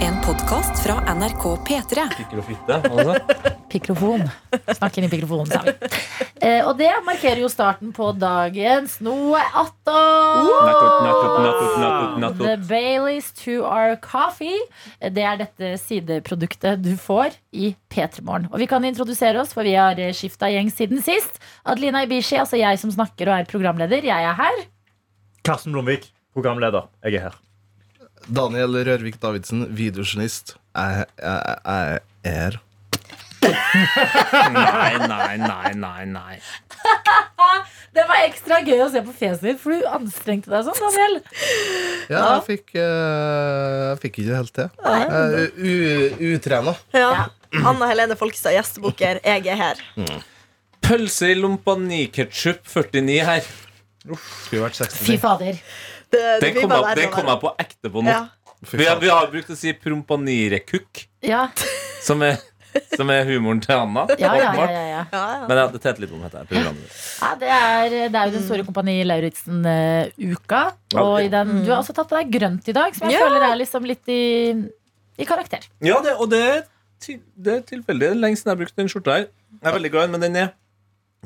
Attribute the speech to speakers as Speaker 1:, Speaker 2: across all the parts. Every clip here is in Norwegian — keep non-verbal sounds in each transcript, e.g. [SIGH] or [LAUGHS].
Speaker 1: En podkast fra NRK P3.
Speaker 2: Pikker og fitte. Altså.
Speaker 3: Pikrofon. Snakk inn i pikrofonen, sa vi. Eh, og det markerer jo starten på dagens Noe Atton.
Speaker 2: Nettopp, nettopp, nettopp, nettopp,
Speaker 3: The
Speaker 2: nettopp.
Speaker 3: Baileys to our coffee. Eh, Det er dette sideproduktet du får i P3 Morgen. Og vi kan introdusere oss, for vi har skifta gjeng siden sist. Adelina Ibishi, altså jeg som snakker og er programleder, jeg er her.
Speaker 4: Karsten Blomvik, programleder. Jeg er her.
Speaker 5: Daniel Rørvik Davidsen, videojournalist. Jeg, jeg, jeg er her.
Speaker 2: Nei, nei, nei, nei, nei.
Speaker 3: Det var ekstra gøy å se på fjeset ditt, for du anstrengte deg sånn, Daniel.
Speaker 5: Ja, jeg fikk, eh, jeg fikk ikke det helt til. Jeg er u- Utrena.
Speaker 6: Ja. Anna Helene Folkestad, gjestebukker. Jeg er her.
Speaker 2: Pølse i lompaniketchup 49 her.
Speaker 5: Skulle vært
Speaker 3: Fy
Speaker 5: 69.
Speaker 3: fader.
Speaker 6: Det, det
Speaker 2: Den
Speaker 6: blir
Speaker 2: kom,
Speaker 6: bare
Speaker 2: jeg-
Speaker 6: verre
Speaker 2: den
Speaker 6: og
Speaker 2: kom
Speaker 6: verre.
Speaker 2: jeg på ekte på
Speaker 6: sånn. Ja.
Speaker 2: nå.
Speaker 5: Fy
Speaker 2: Vi, har- vi
Speaker 5: faen.
Speaker 2: har brukt å si prompanirekukk,
Speaker 3: Ja,
Speaker 2: som er, som er humoren til Anna.
Speaker 3: ja, ja. ja,
Speaker 2: åpenbart.
Speaker 3: ja, ja.
Speaker 6: Ja, ja.
Speaker 2: Men ja, det Tete Lidbom heter jeg. programleder.
Speaker 3: Ja, det, er, det er jo den
Speaker 6: Mm.
Speaker 3: store Kompani Lauritzen-uka.
Speaker 2: Ja,
Speaker 3: Og
Speaker 2: det-
Speaker 3: i den, du har også tatt på deg grønt i dag, som jeg
Speaker 6: Ja.
Speaker 3: føler er liksom litt i, i karakter.
Speaker 2: Ja, det, og det er, til, det er tilfeldig. Det er lenge siden jeg har brukt den skjorta her. Jeg er veldig glad i den, men den er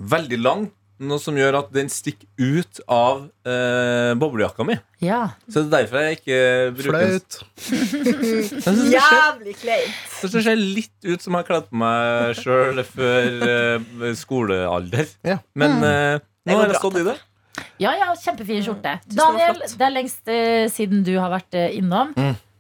Speaker 2: veldig lang. Noe som gjør at den stikker ut av eh, boblejakka mi.
Speaker 3: Ja.
Speaker 2: Så det er derfor jeg ikke bruker den.
Speaker 5: Flaut.
Speaker 2: Jeg synes det ser-
Speaker 6: Jævlig kleint.
Speaker 2: Jeg synes det ser litt ut som jeg har kledd på meg sjøl før eh, skolealder.
Speaker 5: Ja.
Speaker 2: Men eh,
Speaker 6: Mm.
Speaker 2: nå
Speaker 6: Det går
Speaker 2: har jeg
Speaker 6: bra,
Speaker 2: stått i det.
Speaker 3: Ja, ja, kjempefin skjorte.
Speaker 6: Mm. det var
Speaker 3: Daniel,
Speaker 6: flott.
Speaker 3: det er lengst eh, siden du har vært eh, innom.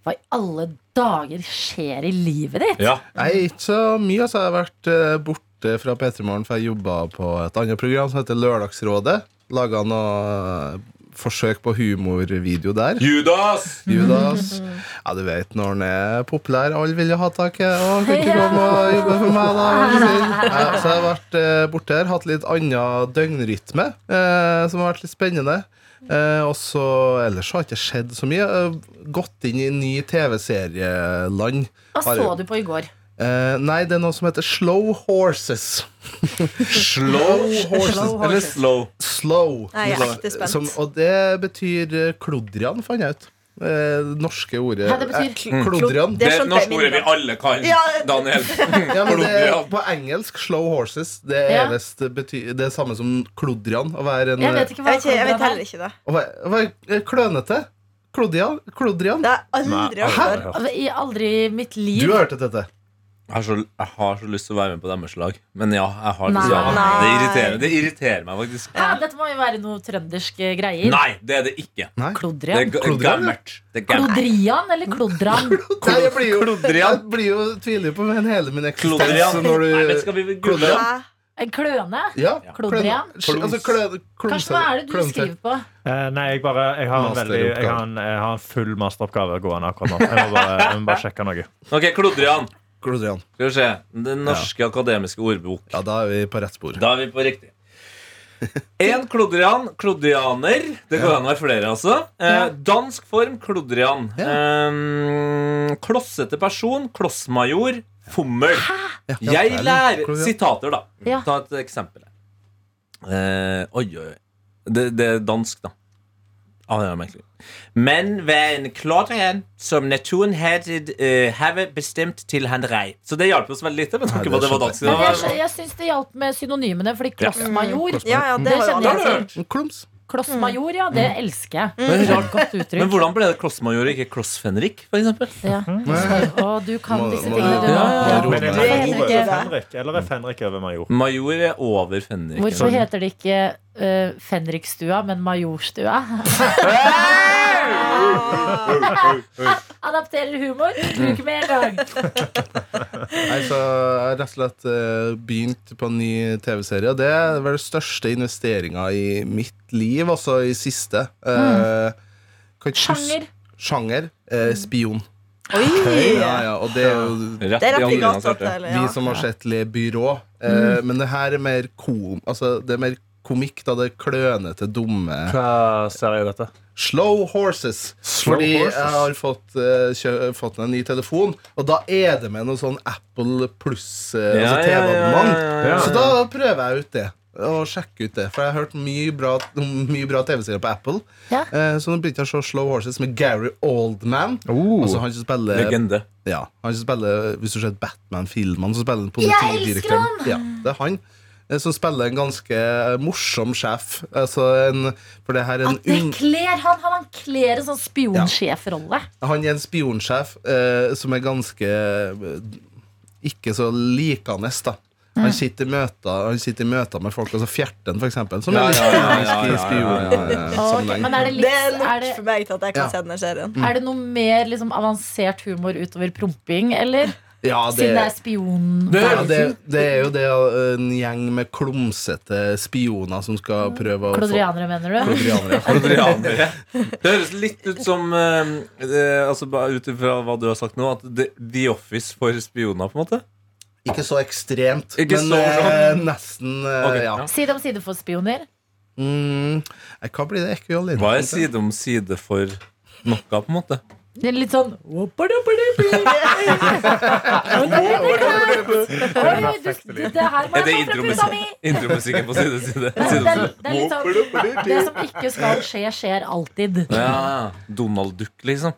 Speaker 3: Hva i alle dager skjer i livet ditt?
Speaker 2: Ja.
Speaker 5: Nei, ikke så mye. Altså, jeg har vært eh, borte fra P3 Morgen, for jeg jobba på et annet program som heter Lørdagsrådet. Laga noe eh, forsøk på humorvideo der.
Speaker 2: Judas!
Speaker 5: Judas. Ja, du vet når han er populær. Alle vil jo ha tak i Å, kan ikke komme og jobbe for meg, da. vil du si. Ja, så jeg har vært eh, borte her, hatt litt annen døgnrytme, eh, som har vært litt spennende. Eh, og så Ellers har det ikke skjedd så mye. Eh, gått inn i ny TV-serieland.
Speaker 3: Hva så
Speaker 5: Har jeg-
Speaker 3: du på i går?
Speaker 5: Eh, nei, det er noe som heter Slow Horses.
Speaker 2: Slow
Speaker 5: horses.
Speaker 3: Slow
Speaker 2: Eller
Speaker 3: horses.
Speaker 2: slow.
Speaker 5: Slow. Liksom,
Speaker 6: Nei, jeg er ekte spent.
Speaker 5: Som, og det betyr eh, klodrian, fant jeg ut. Eh, det norske ordet
Speaker 3: Hva det betyr?
Speaker 5: eh, klodrian.
Speaker 2: Det
Speaker 6: Det
Speaker 2: er et
Speaker 6: skjønte jeg
Speaker 2: norsk ord vi
Speaker 6: mindre.
Speaker 2: alle kan,
Speaker 6: Ja. [LAUGHS]
Speaker 2: Daniel.
Speaker 5: Ja, men det, er-
Speaker 2: Klodrian.
Speaker 5: på engelsk, slow horses, det er
Speaker 3: Ja.
Speaker 5: visst bety- det er samme som klodrian. Å være, en,
Speaker 3: Jeg vet ikke hva
Speaker 6: Jeg vet, ikke, jeg vet
Speaker 3: klodrian
Speaker 6: heller
Speaker 3: er.
Speaker 6: ikke det.
Speaker 5: å være, å være klønete. Klodrian. klodrian.
Speaker 6: Det har jeg aldri hørt før.
Speaker 3: Altså, I aldri i mitt
Speaker 5: Du
Speaker 3: liv.
Speaker 5: har hørt dette?
Speaker 2: Jeg har, så, jeg har så lyst til å være med på deres lag, men ja, jeg har
Speaker 3: Nei.
Speaker 2: dessverre. Det
Speaker 6: Nei.
Speaker 2: irriterer, det irriterer meg faktisk.
Speaker 3: Ja, dette må jo være noe trønderske greier.
Speaker 2: Nei, det er det ikke.
Speaker 5: Nei.
Speaker 2: Det er
Speaker 3: Klodrian?
Speaker 2: ga-
Speaker 5: Klodrian?
Speaker 2: gammelt. Det er gammelt.
Speaker 3: Klodrian eller klodran?
Speaker 5: Nei, jeg blir jo, jeg
Speaker 2: Klodrian.
Speaker 5: blir jo tviler jo på min- hele min eksistens
Speaker 2: Klodrian.
Speaker 5: når
Speaker 2: Nei, men
Speaker 5: du
Speaker 2: skal vi google?
Speaker 6: Hæ?
Speaker 3: En kløne?
Speaker 5: Ja.
Speaker 2: Ja.
Speaker 5: kløn-
Speaker 3: Klodrian?
Speaker 5: Altså, kløn- klønse-
Speaker 3: Karsten, hva er det du
Speaker 5: klønse.
Speaker 3: skriver på?
Speaker 4: Eh, nei, jeg bare jeg har, en veldig, jeg, har en, jeg har en full masteroppgave gående akkurat nå. Jeg må bare, jeg må bare sjekke noe.
Speaker 2: Ok, Klodrian.
Speaker 5: Klodrian.
Speaker 2: Skal vi se. Den norske akademiske ordbok.
Speaker 5: Ja, da er vi på rett spor.
Speaker 2: Da er vi på riktig. En klodrian, klodrianer. Det går an å være flere, altså. Eh, dansk form, klodrian. Eh, klossete person, klossmajor, fommel. Jeg lærer Sitater, da.
Speaker 3: Ja.
Speaker 2: Ta et eksempel. her. Eh, oi, oi, oi. Det, det er dansk, da. Ah, det er merkelig. Men hver en klodrian som naturen hadde eh, have bestemt til han rei. Så det hjalp oss veldig lite. Men takk
Speaker 5: Nei,
Speaker 2: for at det
Speaker 5: det
Speaker 2: var
Speaker 5: skjønte
Speaker 2: dansk.
Speaker 5: jeg.
Speaker 2: Det
Speaker 3: Men jeg
Speaker 2: var,
Speaker 3: skj- jeg syns det hjalp med synonymene, fordi klossmajor
Speaker 6: Ja, ja, det
Speaker 3: Det
Speaker 6: har jo Mm.
Speaker 3: kjenner
Speaker 6: alle
Speaker 3: jeg
Speaker 6: hørt.
Speaker 3: til.
Speaker 5: Klums.
Speaker 3: Klossmajor, ja. Det elsker
Speaker 6: Mm.
Speaker 3: jeg.
Speaker 2: Men
Speaker 3: Det er
Speaker 2: rart.
Speaker 3: et godt
Speaker 2: Men
Speaker 3: uttrykk.
Speaker 2: hvordan ble det klossmajor og ikke klossfenrik? For eksempel?
Speaker 3: Ja. Og du kan
Speaker 5: Må-
Speaker 3: disse
Speaker 5: må-
Speaker 3: tingene,
Speaker 2: Ja,
Speaker 3: du
Speaker 2: ja,
Speaker 3: òg.
Speaker 4: Men er
Speaker 6: Du er
Speaker 4: Fenrik
Speaker 6: helt
Speaker 4: over
Speaker 6: ikke-
Speaker 4: Fenrik, eller er Fenrik over Major?
Speaker 2: Major er over fenrik.
Speaker 3: Hvorfor heter det ikke eh, Fenrikstua, men Majorstua? [LAUGHS] Adapterer humor. Bruk med en gang.
Speaker 5: Nei, så jeg har rett og slett eh, begynt på en ny TV-serie. og Det er vel den største investeringa i mitt liv, altså i siste. Eh, kan ikke huske-
Speaker 3: Sjanger.
Speaker 5: Sjanger. eh, spion. Ja,
Speaker 6: Oi!
Speaker 5: ja, og det er jo
Speaker 2: Rett
Speaker 6: Det
Speaker 2: i
Speaker 6: er rett i
Speaker 2: andre
Speaker 6: gata
Speaker 2: svarte.
Speaker 6: til.
Speaker 5: vi
Speaker 6: Ja.
Speaker 5: som har sett Le Byrå. Eh, Men det her er mer kom... Altså, det er mer komikk, da. Det er klønete, dumme
Speaker 4: Hva serie er dette?
Speaker 5: Slow horses. fordi jeg har fått, eh, kjø, fått en ny telefon, og da er det med noe sånn Apple pluss eh,
Speaker 2: Ja, ja, ja,
Speaker 5: altså TV-abonnement.
Speaker 2: ja, ja, ja.
Speaker 5: Så da prøver jeg ut det. og sjekke ut det. For jeg har hørt mye bra, om mye bra TV-serier på Apple.
Speaker 3: Ja.
Speaker 5: Eh, så nå begynte jeg å se Slow Horses med Gary Oldman.
Speaker 4: Oh.
Speaker 5: Altså han som spiller
Speaker 2: Legende.
Speaker 5: ja, han som spiller, Hvis du ser Batman-filmene, så spiller han
Speaker 7: Jeg elsker
Speaker 5: politidirektøren.
Speaker 7: han!
Speaker 5: Ja, det er han eh, som spiller en ganske morsom sjef. Altså en, for det her er en
Speaker 3: At det
Speaker 5: ung-
Speaker 3: kler han. Han, han kler en sånn spionsjefrolle.
Speaker 5: Han er en spionsjef eh, som er ganske eh, ikke så likende, da. Han sitter, i møter, han sitter i møter med folk, altså Fjerten, for eksempel, som
Speaker 2: Ja,
Speaker 5: er litt
Speaker 2: ja, ja,
Speaker 5: typisk
Speaker 2: ja,
Speaker 5: i
Speaker 2: ja, ja, ja, ja,
Speaker 3: Ok,
Speaker 5: spionsammenheng.
Speaker 3: men er det, litt,
Speaker 6: Det er nok
Speaker 3: er, det,
Speaker 6: for meg til at jeg kan
Speaker 5: Ja.
Speaker 6: se denne serien.
Speaker 3: er det noe mer liksom, avansert humor utover promping, eller?
Speaker 5: Ja, det,
Speaker 3: Siden det er spion...
Speaker 2: Det-
Speaker 5: ja, det, det er jo det eh, en gjeng med klumsete spioner som skal prøve å få
Speaker 3: Mm. Klodrianere, mener du?
Speaker 5: Klodrianere.
Speaker 3: [LAUGHS]
Speaker 2: Kolodrianere. Det høres litt ut som eh, eh, altså, bare Ut ifra hva du har sagt nå, at The, the Office for spioner, på en måte.
Speaker 5: Ikke så ekstremt,
Speaker 2: Ikke
Speaker 5: men
Speaker 2: så
Speaker 5: eh,
Speaker 2: sånn.
Speaker 5: nesten. eh,
Speaker 2: Ok,
Speaker 5: ja.
Speaker 2: ja.
Speaker 3: Side om side for spioner.
Speaker 5: Mm, eh, hva blir det ekvivalent?
Speaker 2: Hva er side om side for noe, på en måte?
Speaker 3: Det er Litt sånn Oi, du, det, det her må
Speaker 2: Er det
Speaker 3: jeg ta fra puta mi!
Speaker 2: intromusikk- intromusikken på side om side?
Speaker 3: Det,
Speaker 2: side,
Speaker 3: det,
Speaker 2: om side.
Speaker 3: det er litt sånn Det som ikke skal skje, skjer alltid.
Speaker 2: Ja, Donald Duck, liksom.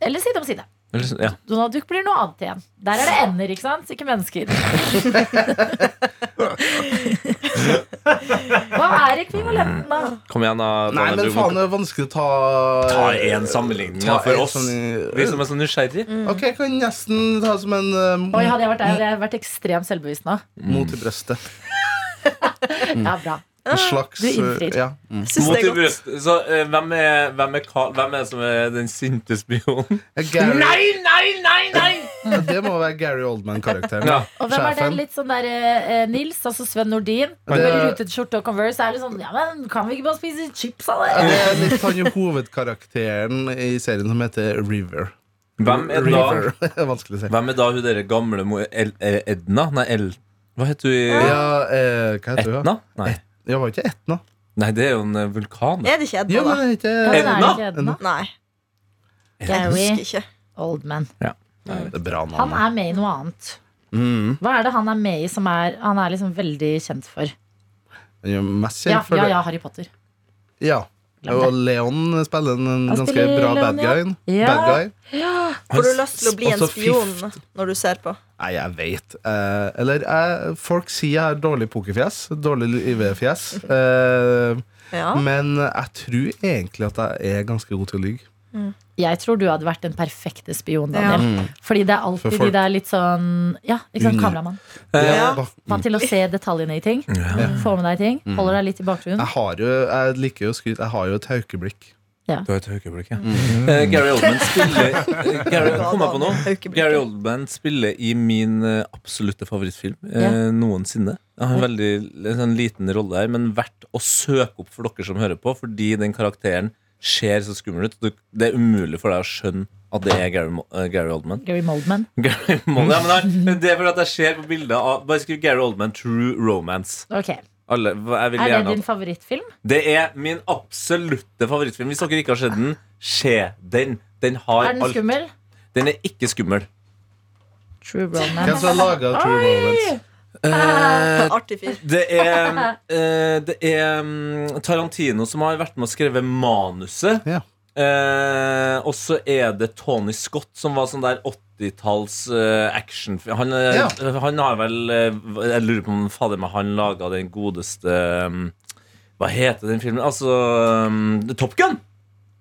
Speaker 3: Eller side om side.
Speaker 2: Eller så- Ja.
Speaker 3: Donald Duck blir noe annet igjen. Der er det ender, ikke sant? Ikke mennesker. Hva er ekvivalenten, da?
Speaker 2: Kom igjen, da.
Speaker 5: Nei,
Speaker 2: Daniel,
Speaker 5: men
Speaker 2: du må-
Speaker 5: faen, det er vanskelig å ta
Speaker 2: Ta Eh, en sammenligning da,
Speaker 5: Ta
Speaker 2: for
Speaker 5: en
Speaker 2: oss.
Speaker 5: sånn-
Speaker 2: Vi som er så nysgjerrig.
Speaker 5: Ok, jeg kan nesten ta som en eh,
Speaker 3: Mm. Oi, hadde jeg vært der, hadde jeg vært ekstremt selvbevisst nå.
Speaker 5: mot i brøstet.
Speaker 3: Ja, bra.
Speaker 5: En slags
Speaker 3: Ah, du innfrir.
Speaker 5: eh, ja. mm.
Speaker 6: Jeg synes
Speaker 2: Mot
Speaker 6: det
Speaker 2: i
Speaker 6: er godt.
Speaker 2: brystet. Så eh, hvem, er, hvem, er, ka- hvem er det som er den sinte spionen?
Speaker 5: Gary,
Speaker 2: nei, nei, nei!
Speaker 5: Det må være Gary Oldman-karakteren.
Speaker 2: Ja.
Speaker 3: Og hvem er det
Speaker 5: Sjefen.
Speaker 3: litt sånn der eh, eh, Nils, altså Sven Nordin?
Speaker 5: Det-
Speaker 3: Med rutet skjorte og Converse er litt sånn Ja, men kan vi ikke bare spise chips av
Speaker 5: Ja,
Speaker 3: det?
Speaker 5: Det er litt han hovedkarakteren i serien som heter River.
Speaker 2: Hvem er da
Speaker 5: River. [LAUGHS] Det er Vanskelig å si.
Speaker 2: Hvem er da hun dere gamle mo- El eh, Edna? Nei, El... Hva heter hun? i-
Speaker 5: Ja, eh, hva heter hun?
Speaker 2: Etna? Nei.
Speaker 5: Ja, var ikke Etna?
Speaker 2: Nei, det er jo en eh, vulkan.
Speaker 6: Er det ikke
Speaker 5: Ja,
Speaker 6: Edna,
Speaker 5: men
Speaker 6: da?
Speaker 5: det
Speaker 3: Ja,
Speaker 5: heter
Speaker 3: men er det ikke Edna?
Speaker 6: Nei. Jeg
Speaker 3: Gary
Speaker 6: husker ikke.
Speaker 3: Oldman.
Speaker 5: Det er bra
Speaker 3: Han
Speaker 5: navn.
Speaker 3: er med i noe annet.
Speaker 5: Mm.
Speaker 3: Hva er det han er med i som er, han er liksom veldig kjent for?
Speaker 5: Han er jo mest
Speaker 3: Ja,
Speaker 5: kjent for
Speaker 3: ja,
Speaker 5: det.
Speaker 3: ja, Harry Potter.
Speaker 5: Ja.
Speaker 3: Glem det.
Speaker 5: Og Leon spiller en en
Speaker 3: Han
Speaker 5: ganske
Speaker 3: spiller
Speaker 5: bra
Speaker 3: Leon,
Speaker 5: bad
Speaker 3: ja.
Speaker 5: guy.
Speaker 3: Ja.
Speaker 5: Bad guy.
Speaker 6: Får du lyst til å bli en
Speaker 5: Også
Speaker 6: spion
Speaker 5: fift.
Speaker 6: når du ser på?
Speaker 5: Nei, jeg veit. Eh, eller eh, folk sier jeg har dårlig pokerfjes. Dårlig lyvefjes. Eh,
Speaker 6: Ja.
Speaker 5: Men jeg tror egentlig at jeg er ganske god til å lyge.
Speaker 3: Jeg tror du hadde vært den perfekte spion,
Speaker 6: Ja.
Speaker 3: Daniel. Fordi det er
Speaker 5: For
Speaker 3: alltid
Speaker 5: folk-
Speaker 3: de der litt sånn Ja, ikke sant,
Speaker 5: Mm.
Speaker 3: kameramann.
Speaker 6: Ja.
Speaker 5: Ba-
Speaker 3: Vant til å se detaljene i ting. Få med deg ting. Holder deg litt i bakgrunnen.
Speaker 5: Jeg, har jo, jeg liker jo å skryte. Jeg har jo et haukeblikk.
Speaker 2: Du har et høykeblikk, ja. [LAUGHS] Eh, Gary Oldman [LAUGHS] spiller eh, Gary, Kom jeg på
Speaker 3: [LAUGHS]
Speaker 2: noe?
Speaker 6: Haukeblikket.
Speaker 2: Gary Oldman spiller i min eh, absolutte favorittfilm eh,
Speaker 3: Ja.
Speaker 2: noensinne. Han har en veldig en sånn liten rolle her, men verdt å søke opp for dere som hører på, fordi den karakteren ser så skummel ut. Du- Det er umulig for deg å skjønne at det er Gary, Mo- eh, Gary Oldman. [LAUGHS]
Speaker 3: Gary Moldman.
Speaker 2: Gary Oldman. Ja, men nei, det er fordi at jeg ser på bildet av Bare skriv Gary Oldman, True Romance.
Speaker 3: Ok,
Speaker 2: Alle, jeg vil
Speaker 3: Er det
Speaker 2: gjerne at
Speaker 3: din favorittfilm?
Speaker 2: det er min absolutte favorittfilm. Hvis dere ikke har sett den, se den. Den har
Speaker 3: Er den
Speaker 2: alt.
Speaker 3: skummel?
Speaker 2: Den er ikke skummel.
Speaker 3: True
Speaker 5: Hvem
Speaker 3: Romance.
Speaker 5: som har laga True Moments?
Speaker 6: Artig fyr.
Speaker 2: Det er,
Speaker 3: [LAUGHS]
Speaker 2: eh, det er mm, Tarantino som har vært med og skrevet manuset.
Speaker 5: Ja.
Speaker 2: Eh, og så er det Tony Scott, som var sånn der 80-talls eh, action... Han, eh,
Speaker 5: Ja.
Speaker 2: han har vel eh, Jeg lurer på om fader meg han laga den godeste mm, Hva heter den filmen? Altså mm, Top Gun!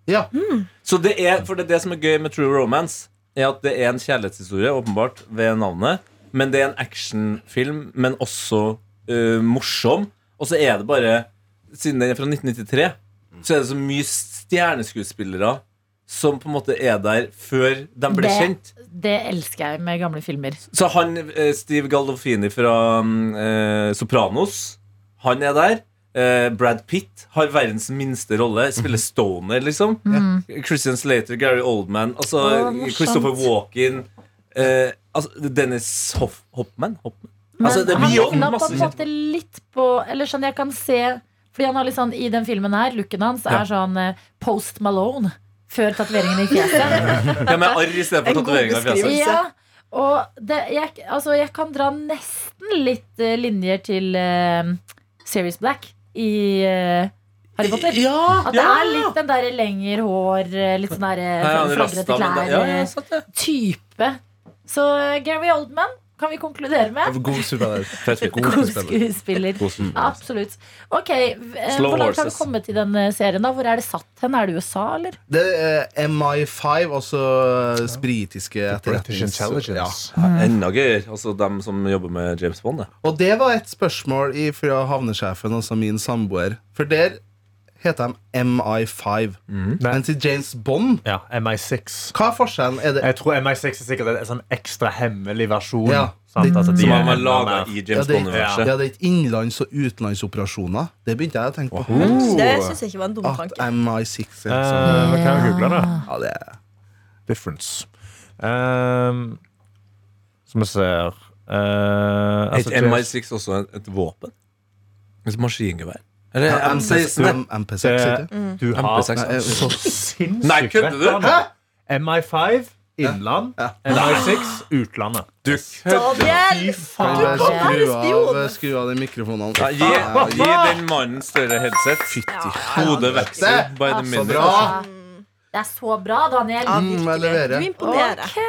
Speaker 5: Ja.
Speaker 2: Så det er, for det er det som er gøy med True Romance, er at det er en kjærlighetshistorie, åpenbart, ved navnet. Men det er en actionfilm, men også eh, morsom. Og så er det bare Siden den er fra 1993, så er det så mye stjerneskuespillere som på en måte er der før de ble
Speaker 3: Det-
Speaker 2: kjent.
Speaker 3: Det elsker jeg med gamle filmer.
Speaker 2: Så han, eh, Steve Galdolfini fra mm, eh, Sopranos, han er der. Eh, Brad Pitt har verdens minste rolle. Spiller stoner, liksom. Christian Slater, Gary Oldman, altså
Speaker 3: Å, morsomt.
Speaker 2: Christopher Walken eh, altså, Dennis Hoff, Hoffman? Hoffman?
Speaker 3: Men
Speaker 2: Altså, det er
Speaker 3: han
Speaker 2: mye
Speaker 3: ligna på en
Speaker 2: masse
Speaker 3: måte litt på Eller sånn, jeg kan se Fordi han har litt sånn, i den filmen her, looken hans er sånn eh, Post Malone Før tatueringen i
Speaker 2: [LAUGHS]
Speaker 3: fjeset
Speaker 2: Ja, med arr istedenfor
Speaker 6: En god
Speaker 2: tatoveringa i fjeset.
Speaker 6: beskrivelse.
Speaker 3: Ja og det, jeg, altså, jeg kan dra nesten litt eh, linjer til eh, Serious Black i eh, Harry Potter.
Speaker 2: Ja,
Speaker 3: At det
Speaker 2: ja.
Speaker 3: er litt den der lengre hår, eh, litt sånn der eh,
Speaker 2: Her er han
Speaker 3: flagrete
Speaker 2: rasta, men det- ja, ja, sant det.
Speaker 3: klær-type. Så eh, Gary Oldman kan vi konkludere med.
Speaker 5: God superhelt.
Speaker 3: God
Speaker 5: skuespiller.
Speaker 3: skuespiller.
Speaker 5: God skuespiller.
Speaker 3: Absolutt. Ok, eh,
Speaker 2: Slow
Speaker 3: Hvor langt har du
Speaker 2: horses.
Speaker 3: kommet i den eh, serien? da? Hvor er det satt hen? Er det USA, eller?
Speaker 5: Det er MI5, altså eh, britiske etterretnings... Ja.
Speaker 2: Enda gøyere. Altså dem som jobber med James Bond. det.
Speaker 5: Og det var et spørsmål i- fra havnesjefen, altså min samboer. For der heter de MI5. Men til James Bond
Speaker 4: Ja, MI6.
Speaker 5: Hva er forskjellen? Er det
Speaker 4: Jeg tror MI6 er sikkert en sånn ekstra hemmelig versjon.
Speaker 5: Ja.
Speaker 4: Sant? Altså, de
Speaker 2: Som
Speaker 4: er
Speaker 2: han var
Speaker 4: enda
Speaker 2: laga
Speaker 4: mer-
Speaker 2: i
Speaker 5: ja,
Speaker 2: James
Speaker 5: det, er-
Speaker 2: Bond-universet.
Speaker 5: ja, det er ikke innenlands- og utenlandsoperasjoner. Det begynte jeg å tenke på.
Speaker 6: Det syns jeg ikke var en dum
Speaker 5: At
Speaker 6: tanke.
Speaker 5: MI6 er
Speaker 4: Eh,
Speaker 5: sånn.
Speaker 4: men kan vi google det?
Speaker 5: Ja, det er
Speaker 4: Difference. Ehm, som vi ser eh,
Speaker 2: Er
Speaker 4: altså,
Speaker 2: ikke MI6 også et, et våpen? Et maskingevær? Eller
Speaker 5: Ja,
Speaker 2: M16?
Speaker 5: M16, M- MP6, ikke?
Speaker 4: det- Du har
Speaker 2: MP6.
Speaker 5: Nei,
Speaker 2: [LAUGHS]
Speaker 4: så
Speaker 5: eh,
Speaker 4: sinnssykt
Speaker 2: Nei, kødder
Speaker 4: rett
Speaker 2: du?
Speaker 4: der nå. MI5 innland. MI6 utlandet.
Speaker 2: Du
Speaker 6: Daniel!
Speaker 4: Fy
Speaker 5: Kan
Speaker 4: faen.
Speaker 5: jeg
Speaker 6: Du kan være
Speaker 5: skru av,
Speaker 6: spion.
Speaker 5: skru av de mikrofonene?
Speaker 2: Ja, gi, gi den mannen større headset.
Speaker 5: Fytti
Speaker 2: Hodet vokser by the
Speaker 5: Så
Speaker 2: minute.
Speaker 5: bra!
Speaker 3: Det er så bra, Daniel.
Speaker 6: Ja,
Speaker 5: Mm, jeg
Speaker 6: virkelig.
Speaker 5: leverer.
Speaker 6: Du imponerer.
Speaker 3: Ok,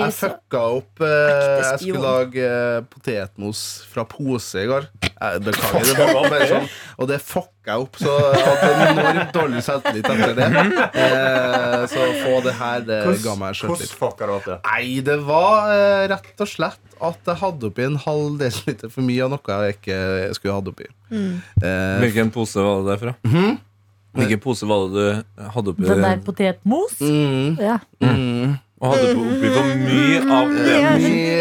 Speaker 5: Jeg
Speaker 3: så
Speaker 5: fucka opp. eh,
Speaker 6: Ekte
Speaker 5: Jeg
Speaker 6: spion.
Speaker 5: skulle lage eh, potetmos fra pose i går. Jeg Beklager. Det var bare sånn. Og det fucka jeg opp. Så jeg hadde enormt dårlig selvtillit etter det. Eh, Så å få det her, det ga meg
Speaker 4: Hvordan
Speaker 5: sjøltillit.
Speaker 4: fucka du opp det?
Speaker 5: Nei, det var eh, rett og slett at jeg hadde oppi en halv desiliter for mye av noe jeg ikke skulle hatt oppi. Eh,
Speaker 2: Hvilken pose var det derfra?
Speaker 5: Mhm.
Speaker 2: Hvilken pose var det du hadde oppi
Speaker 3: den der potetmos.
Speaker 5: mm,
Speaker 3: Ja.
Speaker 5: mm.
Speaker 2: Og hadde på- oppi for mye
Speaker 3: Mm,
Speaker 2: av det?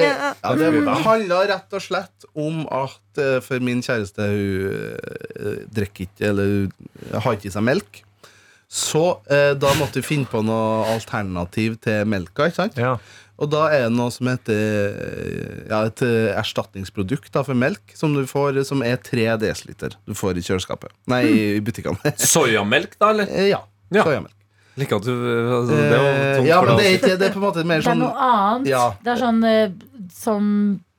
Speaker 5: Ja, Mm. det handla rett og slett om at eh, for min kjæreste Hun eh, drikker ikke Eller hun har ikke i seg melk. Så eh, da måtte vi finne på noe alternativ til melka. Ikke sant?
Speaker 4: Ja.
Speaker 5: Og da er det noe som heter eh, ja, et eh, erstatningsprodukt da, for melk, som du får eh, som er 3 dl. Du får i kjøleskapet. Nei, i butikkene. [LAUGHS]
Speaker 2: Soyamelk, da? eller?
Speaker 5: Eh, ja.
Speaker 2: Ja.
Speaker 5: Soyamelk.
Speaker 2: Like at du, altså, det var
Speaker 5: Eh,
Speaker 2: tungt
Speaker 5: ja,
Speaker 2: for
Speaker 5: men det er,
Speaker 2: deg.
Speaker 5: ikke, det er på en måte mer
Speaker 3: Det er
Speaker 5: sånn
Speaker 3: noe annet.
Speaker 5: Ja.
Speaker 3: Det er sånn eh, som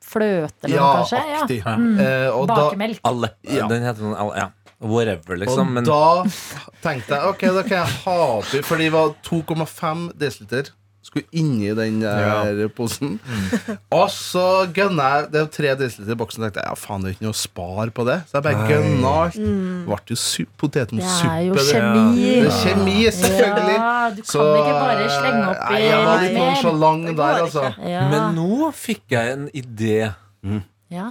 Speaker 3: fløte eller
Speaker 5: ja,
Speaker 3: noe, kanskje. Mm.
Speaker 5: aktig.
Speaker 2: Ja.
Speaker 5: Eh, og da,
Speaker 3: Bakemelk.
Speaker 2: Alep.
Speaker 5: Ja.
Speaker 2: Den heter sånn al- ja. Whatever, liksom.
Speaker 5: Og
Speaker 2: Men
Speaker 5: da tenkte jeg Ok, da kan jeg ha oppi For det var 2,5 dl Skulle inni den der posen
Speaker 2: Mm.
Speaker 5: Og så gønna jeg Det var 3 dl i boksen tenkte jeg, Ja faen, det er jo ikke noe spar på det Så jeg bare gønna alt Vart jo su-
Speaker 3: Mm. Det
Speaker 5: potetmos
Speaker 3: er jo
Speaker 5: suppe det.
Speaker 3: kjemi.
Speaker 5: Det er kjemi, selvfølgelig
Speaker 3: Ja, du kan
Speaker 5: Så,
Speaker 3: ikke bare slenge opp
Speaker 5: nei,
Speaker 3: i
Speaker 5: Jeg var litt sånn
Speaker 3: mer.
Speaker 5: nonchalant
Speaker 6: Det går
Speaker 5: der
Speaker 6: ikke.
Speaker 5: altså
Speaker 3: Ja.
Speaker 2: Men nå fikk jeg en idé.
Speaker 3: ja.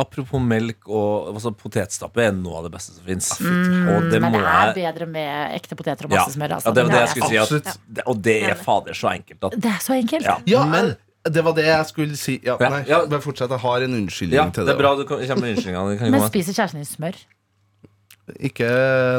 Speaker 2: Apropos melk og altså, potetstappe er noe av det beste som fins. og det
Speaker 3: Mm, Men
Speaker 2: må
Speaker 3: det er
Speaker 2: jeg
Speaker 3: bedre med ekte poteter og
Speaker 2: ja.
Speaker 3: masse smør.
Speaker 2: ja,
Speaker 3: Altså.
Speaker 2: det var det jeg
Speaker 3: er-
Speaker 2: skulle si. At,
Speaker 5: Absolutt.
Speaker 2: det- og det er fader så enkelt at
Speaker 3: det er så enkelt.
Speaker 2: Ja.
Speaker 5: Ja, men det var det jeg skulle si Ja,
Speaker 2: Ja,
Speaker 5: nei,
Speaker 2: ja.
Speaker 5: men fortsett Jeg har en unnskyldning
Speaker 2: Ja,
Speaker 5: til
Speaker 2: det er bra du kom- kommer med unnskyldninga. Det kan
Speaker 3: Men
Speaker 2: komme.
Speaker 3: spiser kjæresten din smør?
Speaker 5: Ikke,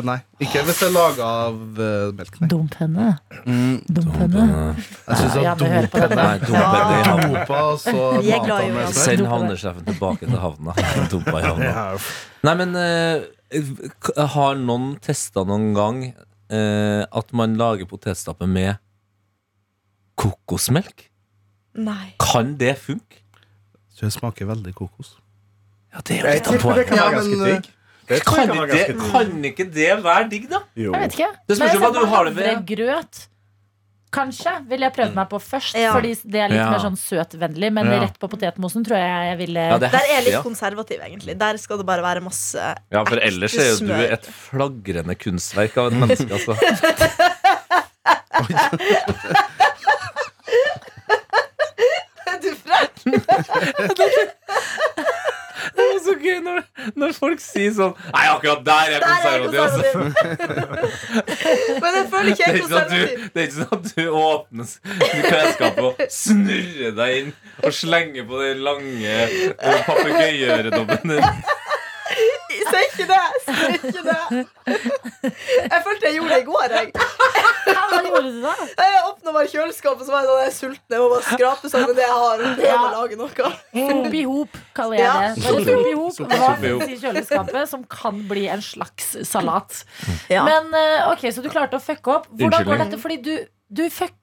Speaker 5: nei Ikke hvis det er laget av eh, melk, nei
Speaker 3: Dump henne.
Speaker 2: Mm.
Speaker 3: Dump henne.
Speaker 5: Jeg synes
Speaker 3: Ja,
Speaker 5: at
Speaker 3: du hører på den.
Speaker 2: Nei, dumpa i det i havna.
Speaker 5: Europa, så
Speaker 6: [LAUGHS] Vi er
Speaker 5: matet
Speaker 6: glad i
Speaker 5: med
Speaker 6: hverandre.
Speaker 5: smør.
Speaker 2: Send havnesjefen tilbake til [LAUGHS] havna. Han dumpa i havna. Nei, men eh, k- har noen testa noen gang eh, at man lager potetstappe med kokosmelk?
Speaker 6: Nei.
Speaker 2: Kan det funke?
Speaker 5: Så det smaker veldig kokos.
Speaker 2: Ja, det er jo
Speaker 4: Jeg
Speaker 2: litt av
Speaker 4: tipper det
Speaker 2: poenget.
Speaker 4: kan være
Speaker 5: Ja, men,
Speaker 4: ganske digg. eh, Det tror jeg
Speaker 2: Kan
Speaker 4: kan være
Speaker 2: ikke,
Speaker 4: ganske digg.
Speaker 2: kan ikke det være digg, da?
Speaker 4: Jo.
Speaker 3: Jeg vet ikke.
Speaker 2: Det spørs jo
Speaker 3: Men
Speaker 2: hva du har det ved.
Speaker 3: havregrøt, Kanskje ville jeg prøvd meg på først,
Speaker 6: Ja.
Speaker 3: fordi det er litt
Speaker 2: Ja.
Speaker 3: mer sånn søtvennlig. Men
Speaker 2: Ja.
Speaker 3: rett på potetmosen tror jeg jeg ville [LAUGHS]
Speaker 2: Ja, det
Speaker 6: Der er
Speaker 2: heftig,
Speaker 6: jeg litt
Speaker 2: ja.
Speaker 6: konservativ, egentlig. Der skal det bare være masse
Speaker 2: Ja, for ellers er jo du
Speaker 6: smør.
Speaker 2: et flagrende kunstverk av et menneske, altså.
Speaker 6: Du fra-
Speaker 2: [LAUGHS] [LAUGHS] Det er så gøy når, når folk sier sånn Nei, akkurat der er jeg
Speaker 6: Der er jeg
Speaker 2: konservativ, altså.
Speaker 6: konservativ. Men jeg føler ikke
Speaker 2: Det er ikke sånn
Speaker 6: jeg er
Speaker 2: at du,
Speaker 6: konservativ.
Speaker 2: det er ikke sånn at du åpner s- klesskapet og snurrer deg inn og slenger på den lange eh, papegøyeøredobben din.
Speaker 6: Si ikke det! Si ikke det! Jeg følte jeg gjorde det i går. Jeg,
Speaker 3: Ja, Hva gjorde du da?
Speaker 6: jeg åpna bare kjøleskapet, så var jeg sånn jeg er sulten. Jeg må bare skrape sammen det jeg har, og prøve å lage noe.
Speaker 3: Sop i hop, kaller
Speaker 6: Ja.
Speaker 3: jeg det. Bare sop i hop.
Speaker 5: Sop i
Speaker 3: Hva
Speaker 2: hop.
Speaker 3: finnes i kjøleskapet som kan bli en slags salat?
Speaker 6: Ja.
Speaker 3: Men eh, ok, så du klarte å fucke opp. Hvordan går
Speaker 2: Unnskyldning.
Speaker 3: dette? Fordi du, du fucket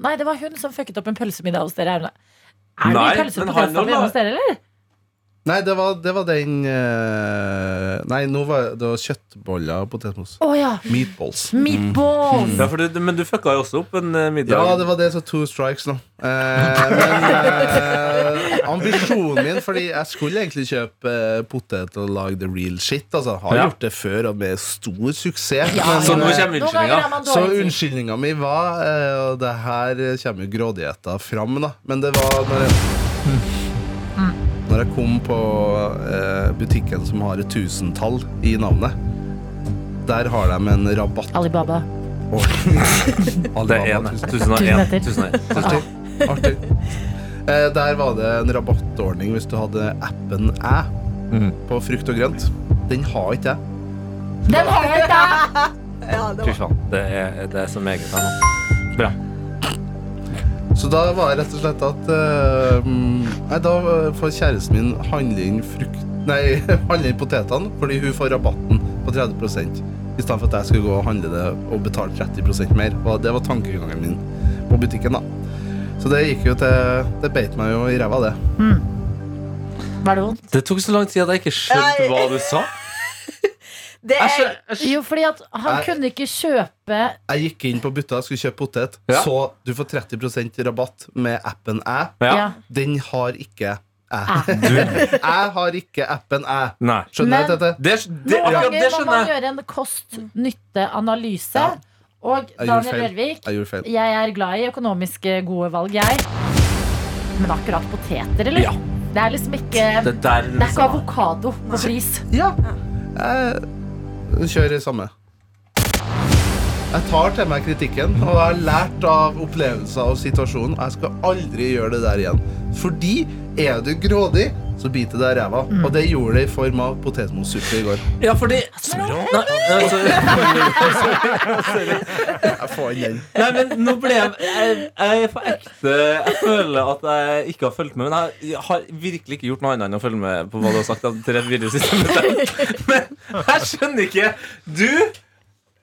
Speaker 3: Nei, det var hun som fucket opp en pølsemiddag hos dere. Aune. Er det
Speaker 2: Nei,
Speaker 3: mye pølser
Speaker 2: men
Speaker 3: på
Speaker 2: han
Speaker 3: pølsa
Speaker 2: la-
Speaker 3: hos dere, eller?
Speaker 5: Nei, det var, det var den eh, Nei, nå var det var kjøttboller og potetmos.
Speaker 3: Å ja.
Speaker 5: Meatballs.
Speaker 2: Mm.
Speaker 3: Meatballs!
Speaker 2: Ja, for du, men du fucka jo også opp en eh, middag.
Speaker 5: Ja, det var det som two strikes nå. Eh,
Speaker 3: [LAUGHS]
Speaker 5: men eh, ambisjonen min Fordi jeg skulle egentlig kjøpe eh, potet og lage the real shit. Altså, har
Speaker 2: Ja.
Speaker 5: gjort det før og med stor suksess.
Speaker 3: Ja,
Speaker 5: men,
Speaker 2: Så nå
Speaker 5: eh,
Speaker 2: kommer
Speaker 3: Noen ganger er
Speaker 2: unnskyldninga.
Speaker 3: man
Speaker 5: så
Speaker 3: dårlig tid.
Speaker 5: unnskyldninga mi var eh, Og det her eh, kommer jo grådigheta fram, da. Men det var når jeg, når jeg kom på eh, butikken som har et tusentall i navnet. Der har de en rabatt.
Speaker 3: [LAUGHS] Alibaba.
Speaker 2: Det er én. Tusen og
Speaker 3: Tusen
Speaker 2: én.
Speaker 3: etter.
Speaker 2: Tusen og én.
Speaker 5: Artig. Artig. Eh, der var det en rabattordning hvis du hadde appen Æ på frukt og grønt. Den har ikke jeg.
Speaker 3: Den har jeg ikke!
Speaker 6: Ja, det
Speaker 2: Fy
Speaker 6: var.
Speaker 2: faen. Det er, det er så meget her nå. Bra.
Speaker 5: Så da var det rett og slett at eh, mm, Nei, da får kjæresten min handle inn frukt Nei, [LAUGHS] handle inn potetene, fordi hun får rabatten på 30 i stedet for at jeg skulle gå og handle det og betale 30 mer. Og det var tankegangen min på butikken, da. Så det gikk jo til Det beit meg jo i ræva, det.
Speaker 3: Var det vondt?
Speaker 2: Det tok så lang tid at jeg ikke skjønte
Speaker 6: Nei.
Speaker 2: hva du sa.
Speaker 6: Det
Speaker 2: Jeg
Speaker 6: er,
Speaker 2: skjø- jeg skjø-
Speaker 3: Jo, fordi at han
Speaker 5: Nei.
Speaker 3: kunne ikke kjøpe
Speaker 5: Jeg gikk inn på butta og skulle kjøpe potet.
Speaker 2: Ja.
Speaker 5: Så du får 30 rabatt med appen Æ.
Speaker 2: Ja.
Speaker 3: Ja.
Speaker 5: Den har ikke Æ. [LAUGHS]
Speaker 3: Æ.
Speaker 2: Du
Speaker 5: Jeg har ikke appen Æ.
Speaker 2: Nei.
Speaker 5: Skjønner du
Speaker 3: Men-
Speaker 5: dette?
Speaker 2: Det, det,
Speaker 3: Noen
Speaker 2: akkurat det
Speaker 3: ganger må man
Speaker 2: skjønner jeg.
Speaker 3: gjøre en kost-nytte-analyse.
Speaker 5: Ja.
Speaker 3: Og
Speaker 5: gjorde
Speaker 3: Daniel
Speaker 5: feil.
Speaker 3: Rørvik,
Speaker 5: Jeg gjorde feil.
Speaker 3: jeg er glad i økonomisk gode valg, jeg. Men akkurat poteter, eller?
Speaker 2: Ja.
Speaker 3: Det er liksom ikke Det
Speaker 2: Det der
Speaker 3: er ikke avokado på flis.
Speaker 5: Ja. Jeg kjører samme. Jeg tar til meg kritikken, og jeg har lært av opplevelser og situasjonen. Jeg skal aldri gjøre det der igjen. Fordi er du grådig, så biter det deg i ræva.
Speaker 3: Mm.
Speaker 5: Og det gjorde det i form av potetmossuppe i går.
Speaker 2: Ja, fordi
Speaker 6: Altså,
Speaker 2: Nei, eh, sorry.
Speaker 5: Jeg får inn den.
Speaker 2: Nei, men nå ble jeg Jeg, jeg er på ekte Jeg føler at jeg ikke har fulgt med, men jeg har virkelig ikke gjort noe annet enn å følge med på hva du har sagt. av tre-fire siste minutter. Men jeg skjønner ikke. Du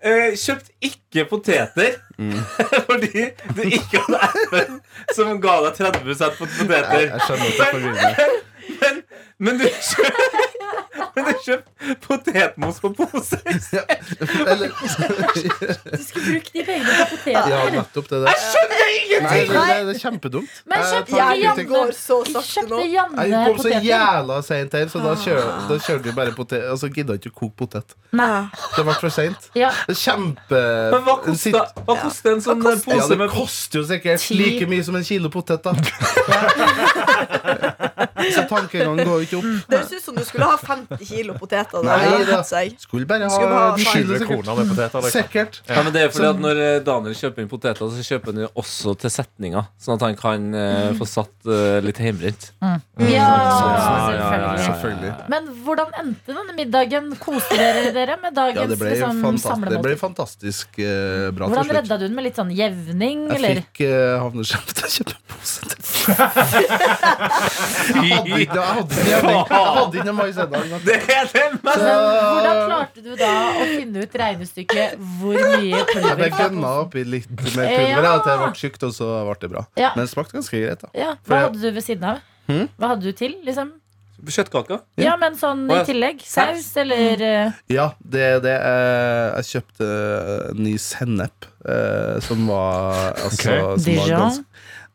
Speaker 2: eh, kjøpte ikke poteter [LAUGHS] fordi du ikke hadde appen som ga deg 30 på
Speaker 5: Jeg,
Speaker 2: poteter.
Speaker 5: jeg skjønner at det er forvirrende.
Speaker 2: Men, men du kjøpte [LAUGHS] Men du kjøpte potetmos på pose.
Speaker 5: Eller [LAUGHS]
Speaker 3: Du skulle bruke de pengene på poteter.
Speaker 5: Ja, nettopp det der. Nei, det, det, det er kjempedumt.
Speaker 3: Men
Speaker 5: Jeg
Speaker 3: kjøpte
Speaker 5: tar
Speaker 3: Janne,
Speaker 5: kritikk.
Speaker 6: Hjernen går så sakte
Speaker 3: kjøpte
Speaker 6: nå.
Speaker 5: Jeg
Speaker 3: Janne
Speaker 5: kom så
Speaker 3: poteter?
Speaker 5: jævla seint her, så da kjører, da kjører vi bare potet. Og så gidder jeg ikke å koke potet.
Speaker 6: Nei.
Speaker 5: Det ble for seint.
Speaker 3: Ja.
Speaker 5: Det er kjempe...
Speaker 2: Men hva kosta, hva kosta en sånn eh,
Speaker 5: Ja,
Speaker 2: pose
Speaker 5: det
Speaker 2: med
Speaker 5: koster jo sikkert
Speaker 3: Ti.
Speaker 5: like mye som en kilo potet, da. Så tankegangen går jo ikke opp.
Speaker 6: Det høres ut som du skulle ha 50 kilo poteter. Da.
Speaker 5: Nei,
Speaker 6: Det hadde
Speaker 5: da.
Speaker 6: hatt seg.
Speaker 5: Skulle bare ha
Speaker 6: Skulle bare ha
Speaker 5: en kilo,
Speaker 4: 20
Speaker 5: sikkert.
Speaker 4: kroner med poteter. Liksom.
Speaker 5: Sikkert.
Speaker 2: Ja, men det er fordi at Når eh, Daniel kjøper inn poteter, så kjøper han jo også til setninga. Sånn at han kan eh, få satt eh, litt hjemmebrent.
Speaker 5: Mm.
Speaker 3: Ja,
Speaker 2: Ja, ja, ja, ja, ja.
Speaker 3: selvfølgelig.
Speaker 5: Selvfølgelig.
Speaker 3: Men hvordan endte denne middagen? Koste dere dere med
Speaker 5: Ja,
Speaker 3: dagens
Speaker 5: det ble
Speaker 3: liksom,
Speaker 5: fantastisk, det ble
Speaker 3: samlemåltid?
Speaker 5: fantastisk eh, bra til
Speaker 3: Hvordan
Speaker 5: slutt.
Speaker 3: redda du den med litt sånn jevning,
Speaker 5: Jeg
Speaker 3: eller?
Speaker 5: fikk uh, havneskjerm til å kjøpe en pose til.
Speaker 2: [LAUGHS]
Speaker 5: Jeg hadde ikke noe- jeg hadde ikke noe- jeg hadde ikke noe mais ennå.
Speaker 2: Det er det mest
Speaker 3: Men hvordan klarte du da å finne ut regnestykket hvor mye
Speaker 5: Jeg ble
Speaker 3: pulver
Speaker 5: gønna oppi litt med pulver
Speaker 3: Ja.
Speaker 5: at jeg ble tjukt, og så ble det bra.
Speaker 3: Ja.
Speaker 5: Men det smakte ganske greit, da.
Speaker 3: Ja,
Speaker 5: For
Speaker 3: Hva
Speaker 5: jeg-
Speaker 3: hadde du ved siden av? Hva hadde du til, liksom?
Speaker 2: Kjøttkaker.
Speaker 3: Ja, men sånn
Speaker 2: Å,
Speaker 3: i
Speaker 2: ja.
Speaker 3: tillegg? Saus, eller eh,
Speaker 5: Ja, det er det. eh, Jeg kjøpte en ny sennep eh, som var altså, som var
Speaker 3: Dijon?
Speaker 5: ganske-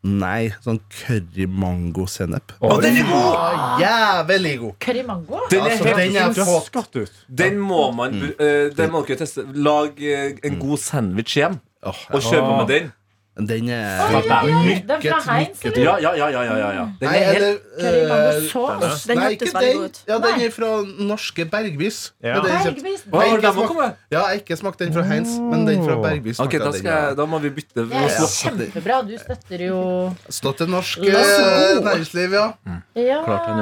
Speaker 5: Nei, sånn curry-mango-sennep.
Speaker 4: Å, den er
Speaker 5: god! Jævlig god!
Speaker 3: curry mango?
Speaker 2: Den er helt
Speaker 5: Altså, den er fått
Speaker 2: Den må man br- eh, Den må dere teste. Lag eh, en god sandwich igjen,
Speaker 5: Åh,
Speaker 2: og kjøpe med den.
Speaker 5: Den er
Speaker 3: Oi, oi, oi,
Speaker 5: Mykket,
Speaker 3: Den fra Heinz,
Speaker 5: mykket.
Speaker 3: eller?
Speaker 2: Ja, ja, ja, ja, ja, ja, ja. Den
Speaker 5: Nei,
Speaker 2: er helt
Speaker 5: eller
Speaker 3: Curry mango
Speaker 5: eh,
Speaker 3: sauce?
Speaker 6: Den
Speaker 5: Nei,
Speaker 6: hørtes
Speaker 5: ikke
Speaker 6: veldig
Speaker 5: den.
Speaker 6: god ut.
Speaker 5: Ja, den
Speaker 3: Nei.
Speaker 5: er fra norske Bergvis.
Speaker 4: Ja.
Speaker 5: Det er den jeg kjøpte.
Speaker 3: Bergvisen.
Speaker 2: Å,
Speaker 5: Nei, ikke
Speaker 2: der må
Speaker 5: smak-
Speaker 2: komme.
Speaker 5: Ja, jeg har ikke smakt den fra Heinz, men den fra Bergvis
Speaker 2: Oh. Ok, da,
Speaker 5: smakte jeg
Speaker 2: skal
Speaker 5: den. ja.
Speaker 2: jeg, da må vi bytte. Vi
Speaker 3: Det
Speaker 2: må
Speaker 3: er
Speaker 2: slå.
Speaker 3: kjempebra. Du støtter jo
Speaker 5: Stått til norsk
Speaker 3: La oss
Speaker 5: eh,
Speaker 3: gå.
Speaker 5: næringsliv, ja.
Speaker 3: Ja!
Speaker 2: Klart han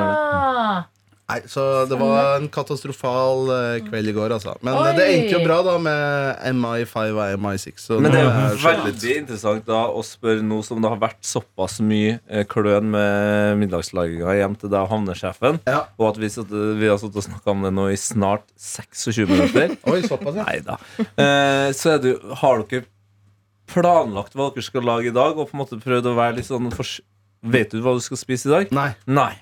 Speaker 5: Nei, så det var en katastrofal eh, kveld i går, altså. Men
Speaker 3: Oi.
Speaker 5: eh, det endte jo bra, da, med MI5 og MI6. Så
Speaker 2: Men det
Speaker 5: nå
Speaker 2: er
Speaker 5: har
Speaker 2: jo
Speaker 5: jeg skjønt litt.
Speaker 2: veldig interessant da å spørre nå som det har vært såpass mye eh, kløn med middagslaginga hjem til deg og havnesjefen,
Speaker 5: Ja.
Speaker 2: og at vi, satt, vi har sittet og snakka om det nå i snart 26
Speaker 5: [LAUGHS]
Speaker 2: minutter.
Speaker 5: Oi, såpass, ja.
Speaker 2: Nei da. Eh, så er det, jo- har dere planlagt hva dere skal lage i dag, og på en måte prøvd å være litt sånn fors Vet du hva du skal spise i dag?
Speaker 5: Nei.
Speaker 2: Nei.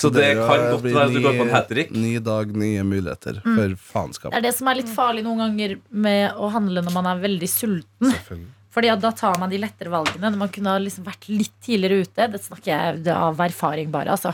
Speaker 2: Så det
Speaker 5: dere
Speaker 2: kan godt
Speaker 5: Mm, blir
Speaker 2: være at du
Speaker 5: eh, ny-
Speaker 2: går på en hat-trick.
Speaker 5: Ny dag, nye muligheter for faenskap.
Speaker 3: Det er det som er litt farlig noen ganger med å handle når man er veldig sulten. Fordi at da tar man de lettere valgene. Når man kunne ha liksom vært litt tidligere ute. Det snakker jeg av erfaring bare. Altså.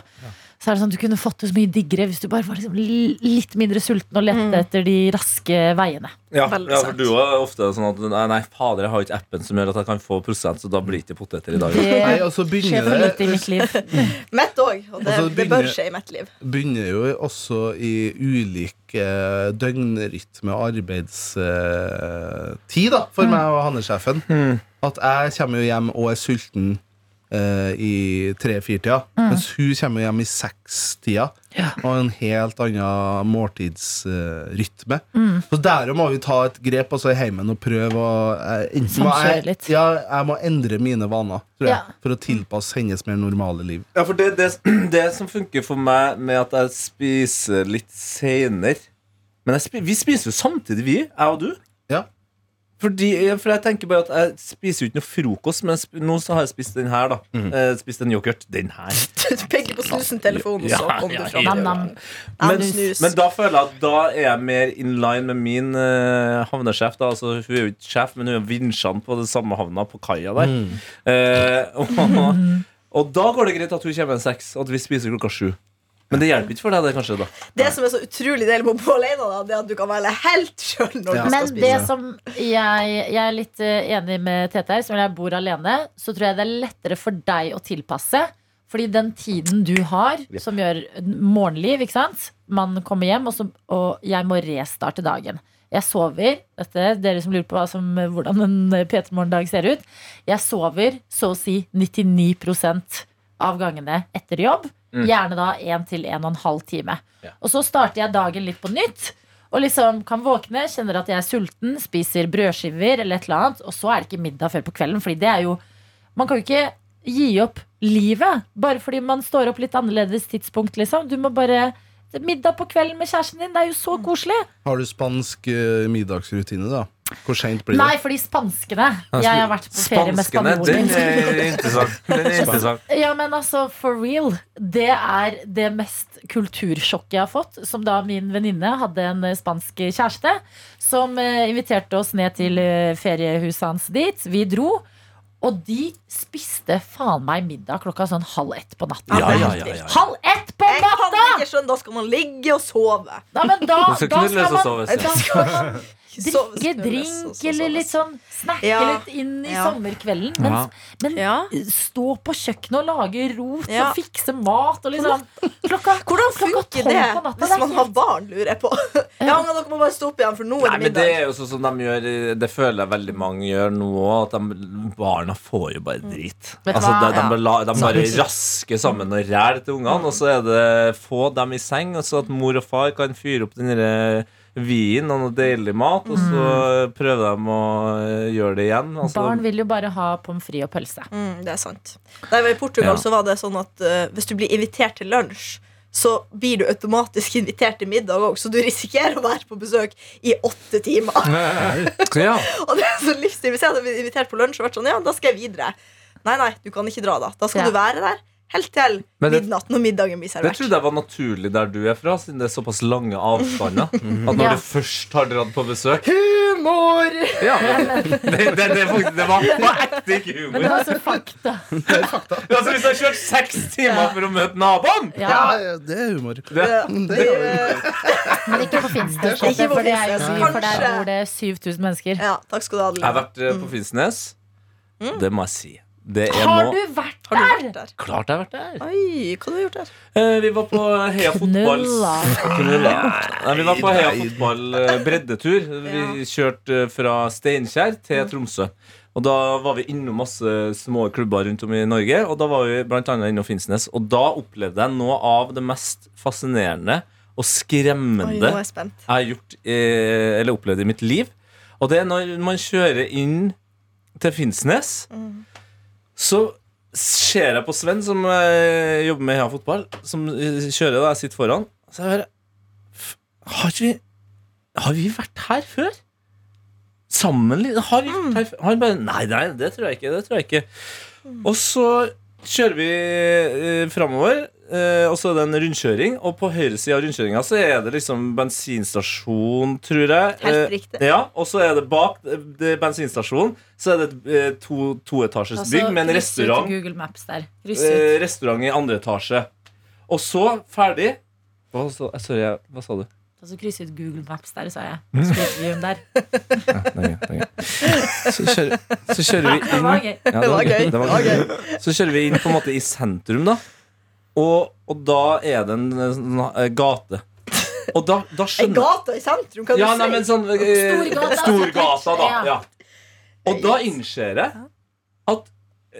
Speaker 3: Så er det sånn at Du kunne fått det så mye diggere hvis du bare var liksom li- litt mindre sulten og lette etter de raske veiene.
Speaker 2: Ja,
Speaker 6: Veldig
Speaker 2: ja, for
Speaker 6: sant.
Speaker 2: du er ofte sånn at Nei, nei fader, jeg har ikke appen som gjør at jeg kan få prosent, så da blir det ikke poteter i dag.
Speaker 5: Nei,
Speaker 3: Det
Speaker 5: og så
Speaker 3: skjer
Speaker 5: begynner
Speaker 3: for lite i
Speaker 5: det
Speaker 3: mitt liv.
Speaker 6: Mett òg. Og
Speaker 2: Altså,
Speaker 6: det,
Speaker 5: Og så
Speaker 6: det bør
Speaker 5: begynner-
Speaker 6: skje i mitt liv.
Speaker 5: begynner jo også i ulik eh, døgnrytme og arbeidstid, da,
Speaker 3: Mm.
Speaker 5: for meg og Hanne-sjefen. At jeg kommer jo hjem og er sulten eh, i tre-fire-tida,
Speaker 3: Mm.
Speaker 5: mens hun kommer jo hjem i seks-tida. Og en helt annen måltidsrytme.
Speaker 3: Mm.
Speaker 5: Så derom må vi ta et grep altså i heimen og prøve å eh, enten må
Speaker 3: Samkjøre
Speaker 5: jeg,
Speaker 3: litt.
Speaker 5: ja, jeg må endre mine vaner, tror jeg,
Speaker 3: Ja.
Speaker 5: for å tilpasse hennes mer normale liv.
Speaker 2: Ja, for det, det, [CLEARS THROAT] det som funker for meg med at jeg spiser litt senere Men jeg spi, vi spiser jo samtidig, vi, jeg og du.
Speaker 5: Ja.
Speaker 2: Fordi, for jeg tenker bare at jeg spiser jo ikke noe frokost, men jeg sp- nå så har jeg spist den her, da. Eh, spist en yoghurt. Den her.
Speaker 6: [LAUGHS] Du peker på snusen-telefonen, så
Speaker 2: Ja,
Speaker 6: kom du
Speaker 2: ja,
Speaker 6: fram.
Speaker 2: ja.
Speaker 3: Nam, nam.
Speaker 2: Men,
Speaker 6: Nam, snus.
Speaker 2: men da føler jeg at da er jeg mer in line med min eh, havnesjef. Da. Altså, hun er jo ikke sjef, men hun er vinsjene på den samme havna på kaia der. Eh, [LAUGHS] og, og da går det greit at hun kommer en seks, og at vi spiser klokka sju. Men det hjelper ikke for deg, det, kanskje? da
Speaker 6: Det som er så utrolig deilig med å bo alene, da, det er at du kan velge helt sjøl
Speaker 5: Ja.
Speaker 6: når du skal
Speaker 3: Men det
Speaker 6: spise.
Speaker 3: som jeg, jeg er litt eh, enig med Tete her, som jeg bor alene, så tror jeg det er lettere for deg å tilpasse. Fordi den tiden du har, som gjør morgenliv, ikke sant? Man kommer hjem, og, så, og jeg må restarte dagen. Jeg sover. Dette, dere som lurer på hva som, hvordan en P3-morgendag ser ut. Jeg sover så å si 99 av gangene etter jobb.
Speaker 5: Mm.
Speaker 3: Gjerne da 1 til 1 12 time. Og så starter jeg dagen litt på nytt. Og liksom kan våkne, kjenner at jeg er sulten, spiser brødskiver eller et eller annet. Og så er det ikke middag før på kvelden, fordi det er jo Man kan jo ikke gi opp livet bare fordi man står opp litt annerledes tidspunkt, liksom. Du må bare Middag på kvelden med kjæresten din, det er jo så
Speaker 5: Mm.
Speaker 3: koselig.
Speaker 5: Har du spansk eh, middagsrutine, da? Hvor seint blir det?
Speaker 3: Nei, fordi spanskene Jeg har vært på ferie med
Speaker 2: Altså, Spanskene, den
Speaker 3: spanjoler.
Speaker 2: er interessant.
Speaker 3: [LAUGHS]
Speaker 2: Den er interessant.
Speaker 3: Ja, men altså, for real. Det er det mest kultursjokket jeg har fått. Som da min venninne hadde en eh, spansk kjæreste som eh, inviterte oss ned til eh, feriehuset hans dit. Vi dro. Og de spiste faen meg middag klokka sånn halv ett på natten.
Speaker 2: Ja, ja, ja, ja.
Speaker 3: Halv ett på
Speaker 6: Jeg
Speaker 3: natta!
Speaker 6: kan ikke skjønne, Da skal man ligge og sove.
Speaker 3: Nei, men da,
Speaker 2: Du skal
Speaker 3: da
Speaker 2: knulles og
Speaker 3: skal man,
Speaker 2: soves, ja.
Speaker 3: da skal man
Speaker 6: Sove,
Speaker 3: drikke
Speaker 6: knulles og
Speaker 3: drink
Speaker 6: så
Speaker 3: eller
Speaker 6: soves.
Speaker 3: litt sånn snakke
Speaker 6: Ja.
Speaker 3: litt inn i
Speaker 6: Ja.
Speaker 3: sommerkvelden.
Speaker 2: Ja.
Speaker 3: Mens, men
Speaker 6: Ja.
Speaker 3: stå på kjøkkenet og lage rot
Speaker 6: Ja.
Speaker 3: og fikse mat og liksom klokka,
Speaker 6: [LAUGHS] Hvordan
Speaker 3: klokka
Speaker 6: funker
Speaker 3: tolv
Speaker 6: det
Speaker 3: på natta,
Speaker 6: hvis
Speaker 3: er
Speaker 6: man
Speaker 3: helt-
Speaker 6: har barn, lurer jeg på? [LAUGHS] Ja, men Dere må bare stå opp igjen, for nå er
Speaker 2: Nei,
Speaker 6: det
Speaker 2: men Det
Speaker 6: middag.
Speaker 2: er jo sånn som de gjør i- Det føler jeg veldig mange gjør nå òg. Barna får jo bare drit.
Speaker 3: Mm. Vet du
Speaker 2: Altså, de,
Speaker 3: hva?
Speaker 2: de,
Speaker 3: Ja.
Speaker 2: bare la, de bare rasker sammen og ræl til ungene, og så er det få dem i seng, og så at mor og far kan fyre opp den derre vinen og noe deilig mat, og så prøver de å eh, gjøre det igjen. Altså,
Speaker 3: Mm. Barn vil jo bare ha pommes frites og pølse.
Speaker 6: Mm, det er sant. Da jeg var i
Speaker 2: Ja.
Speaker 6: Portugal, så var det sånn at eh, hvis du blir invitert til lunsj, så blir du automatisk invitert til middag òg, så du risikerer å være på besøk i åtte timer.
Speaker 2: ja.
Speaker 6: [LAUGHS] Og det er så livsstil. Hvis jeg hadde blitt invitert på lunsj og vært sånn, ja, da skal jeg videre. Nei, nei, du kan ikke dra da. Da skal
Speaker 3: Ja.
Speaker 6: du være der helt til
Speaker 2: Men det-
Speaker 6: midnatt når middagen blir
Speaker 2: Det
Speaker 6: servert.
Speaker 2: trodde jeg var naturlig der du er fra, siden det er såpass lange
Speaker 3: [LAUGHS]
Speaker 2: avstander. At
Speaker 3: Ja.
Speaker 2: når du først har dratt på besøk
Speaker 6: Humor!
Speaker 3: [LAUGHS]
Speaker 2: ja. det, det, det, faktisk- det var på ekte ikke humor.
Speaker 3: Men det var så fakta.
Speaker 2: Altså Hvis du har kjørt seks timer for å møte naboen
Speaker 3: Ja,
Speaker 5: Ja, det er humor.
Speaker 2: det,
Speaker 3: Mm,
Speaker 5: Det er humor.
Speaker 3: [LAUGHS] men ikke på Finnsnes,
Speaker 6: Ikke på
Speaker 3: for det er jo
Speaker 6: Finnsnes,
Speaker 3: by, for der
Speaker 6: kanskje.
Speaker 3: bor det 7000 mennesker.
Speaker 6: Ja, takk skal du ha,
Speaker 2: Jeg har
Speaker 6: Adeline.
Speaker 2: vært eh, på Finnsnes. Det må jeg si. Det er
Speaker 3: Mm. Har
Speaker 2: nå
Speaker 3: du vært
Speaker 6: Har du
Speaker 3: der?
Speaker 6: vært der?
Speaker 2: Klart jeg har vært der.
Speaker 6: Oi, hva har du gjort der?
Speaker 2: Eh, Vi var på Heia fotball
Speaker 3: Knulla.
Speaker 2: Knulla. Nei, Vi var på Heia
Speaker 5: Nei.
Speaker 2: fotball eh, breddetur. Vi kjørte eh, fra Steinkjer til Tromsø. Og Da var vi innom masse små klubber rundt om i Norge. Og Da var vi blant annet innom Finnsnes Og da opplevde jeg noe av det mest fascinerende og
Speaker 6: Oi, nå
Speaker 2: skremmende
Speaker 6: er jeg spent.
Speaker 2: jeg har gjort eh, eller opplevd i mitt liv. Og det er når man kjører inn til Finnsnes, så ser jeg på Sven, som eh, jobber med Heia Fotball, som eh, kjører, og jeg sitter foran. Så jeg hører "F- har vi, har vi vært her før? Sammen? li- Har vi vært her før? Han bare Nei, nei, det tror jeg ikke. Det tror jeg ikke. Og så kjører vi eh, framover, eh, og så er det en rundkjøring. Og på høyre side av rundkjøringa så er det liksom bensinstasjon, tror jeg.
Speaker 6: Helt
Speaker 2: Eh,
Speaker 6: riktig.
Speaker 2: ja, Og så er det bak eh, det bensinstasjonen så er det et eh, to, toetasjes Altså,
Speaker 6: Altså,
Speaker 2: bygg med en
Speaker 3: kryss ut
Speaker 2: restaurant.
Speaker 3: Google Maps der. Kryss ut.
Speaker 2: Eh, restaurant i andre etasje. Og så, ferdig hva, sa- eh, Sorry, jeg- hva sa du?
Speaker 3: Altså, kryss ut Google Maps der, sa jeg. Street viewen der.
Speaker 2: [LAUGHS] Så, kjører, så kjører vi
Speaker 3: Det
Speaker 2: inn
Speaker 3: var gøy.
Speaker 2: Ja,
Speaker 6: Det var gøy.
Speaker 2: det var
Speaker 6: Det var
Speaker 2: gøy. Så kjører vi inn på en måte i sentrum, da. Og, og da er det en, eh, sånn, eh, gate. Og da, da
Speaker 6: Ei
Speaker 2: skjønner
Speaker 6: gate i sentrum, kan
Speaker 2: ja,
Speaker 6: du
Speaker 2: nei,
Speaker 6: si?
Speaker 2: men sånn, eh,
Speaker 3: Storgata,
Speaker 6: altså,
Speaker 2: Storgata, da.
Speaker 3: ja.
Speaker 2: Ja. Og da innser jeg at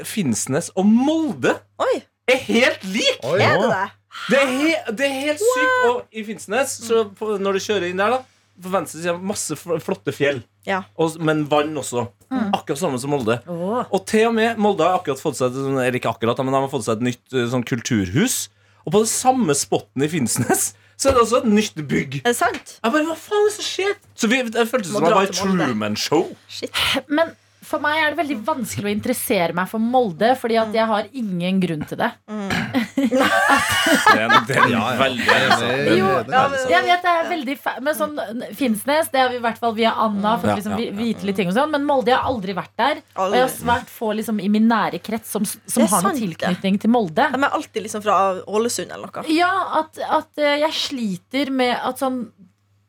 Speaker 2: Finnsnes og Molde
Speaker 6: Oi,
Speaker 2: er helt lik!
Speaker 5: Oi,
Speaker 6: er det
Speaker 5: nå.
Speaker 6: det?
Speaker 2: Det er, he det er helt sykt. Og i Finnsnes, så på- når du kjører inn der, da på venstre side masse fl- flotte fjell,
Speaker 6: Ja. Mm.
Speaker 2: og, men vann også. Akkurat samme som Molde.
Speaker 3: Åh.
Speaker 2: Og til og med Molde har akkurat fått seg et, sånn- eller ikke akkurat, da, men de har fått seg et nytt eh, sånn kulturhus. Og på den samme spotten i Finnsnes [LAUGHS] så er det også et nytt bygg.
Speaker 6: Er det sant?
Speaker 2: Jeg bare, hva faen er det som skjer? Så vi, Det føltes
Speaker 6: Må
Speaker 2: som det
Speaker 6: dra
Speaker 2: var et
Speaker 6: til Molde.
Speaker 2: Truman-show.
Speaker 6: Shit.
Speaker 3: Men for meg er det veldig vanskelig å interessere meg for Molde, fordi at jeg har ingen grunn til det.
Speaker 2: Mm. Det er en-
Speaker 6: [LAUGHS]
Speaker 2: det er en veldig
Speaker 5: Enig, enig,
Speaker 3: Jo,
Speaker 5: enig.
Speaker 6: ja, men-
Speaker 3: Jeg vet det er veldig fa Men sånn Finnsnes, det har vi i hvert fall via Anna fått
Speaker 2: Mm. Ja,
Speaker 3: liksom
Speaker 2: ja,
Speaker 3: vi-
Speaker 2: ja.
Speaker 3: vite litt ting og sånn, men Molde jeg har aldri vært der. Og jeg har svært få liksom i min nære krets som, som
Speaker 6: Det er
Speaker 3: har noen
Speaker 6: sant, det.
Speaker 3: tilknytning til Molde.
Speaker 6: De er alltid liksom fra Ålesund eller noe.
Speaker 3: Ja, at, at eh, jeg sliter med at sånn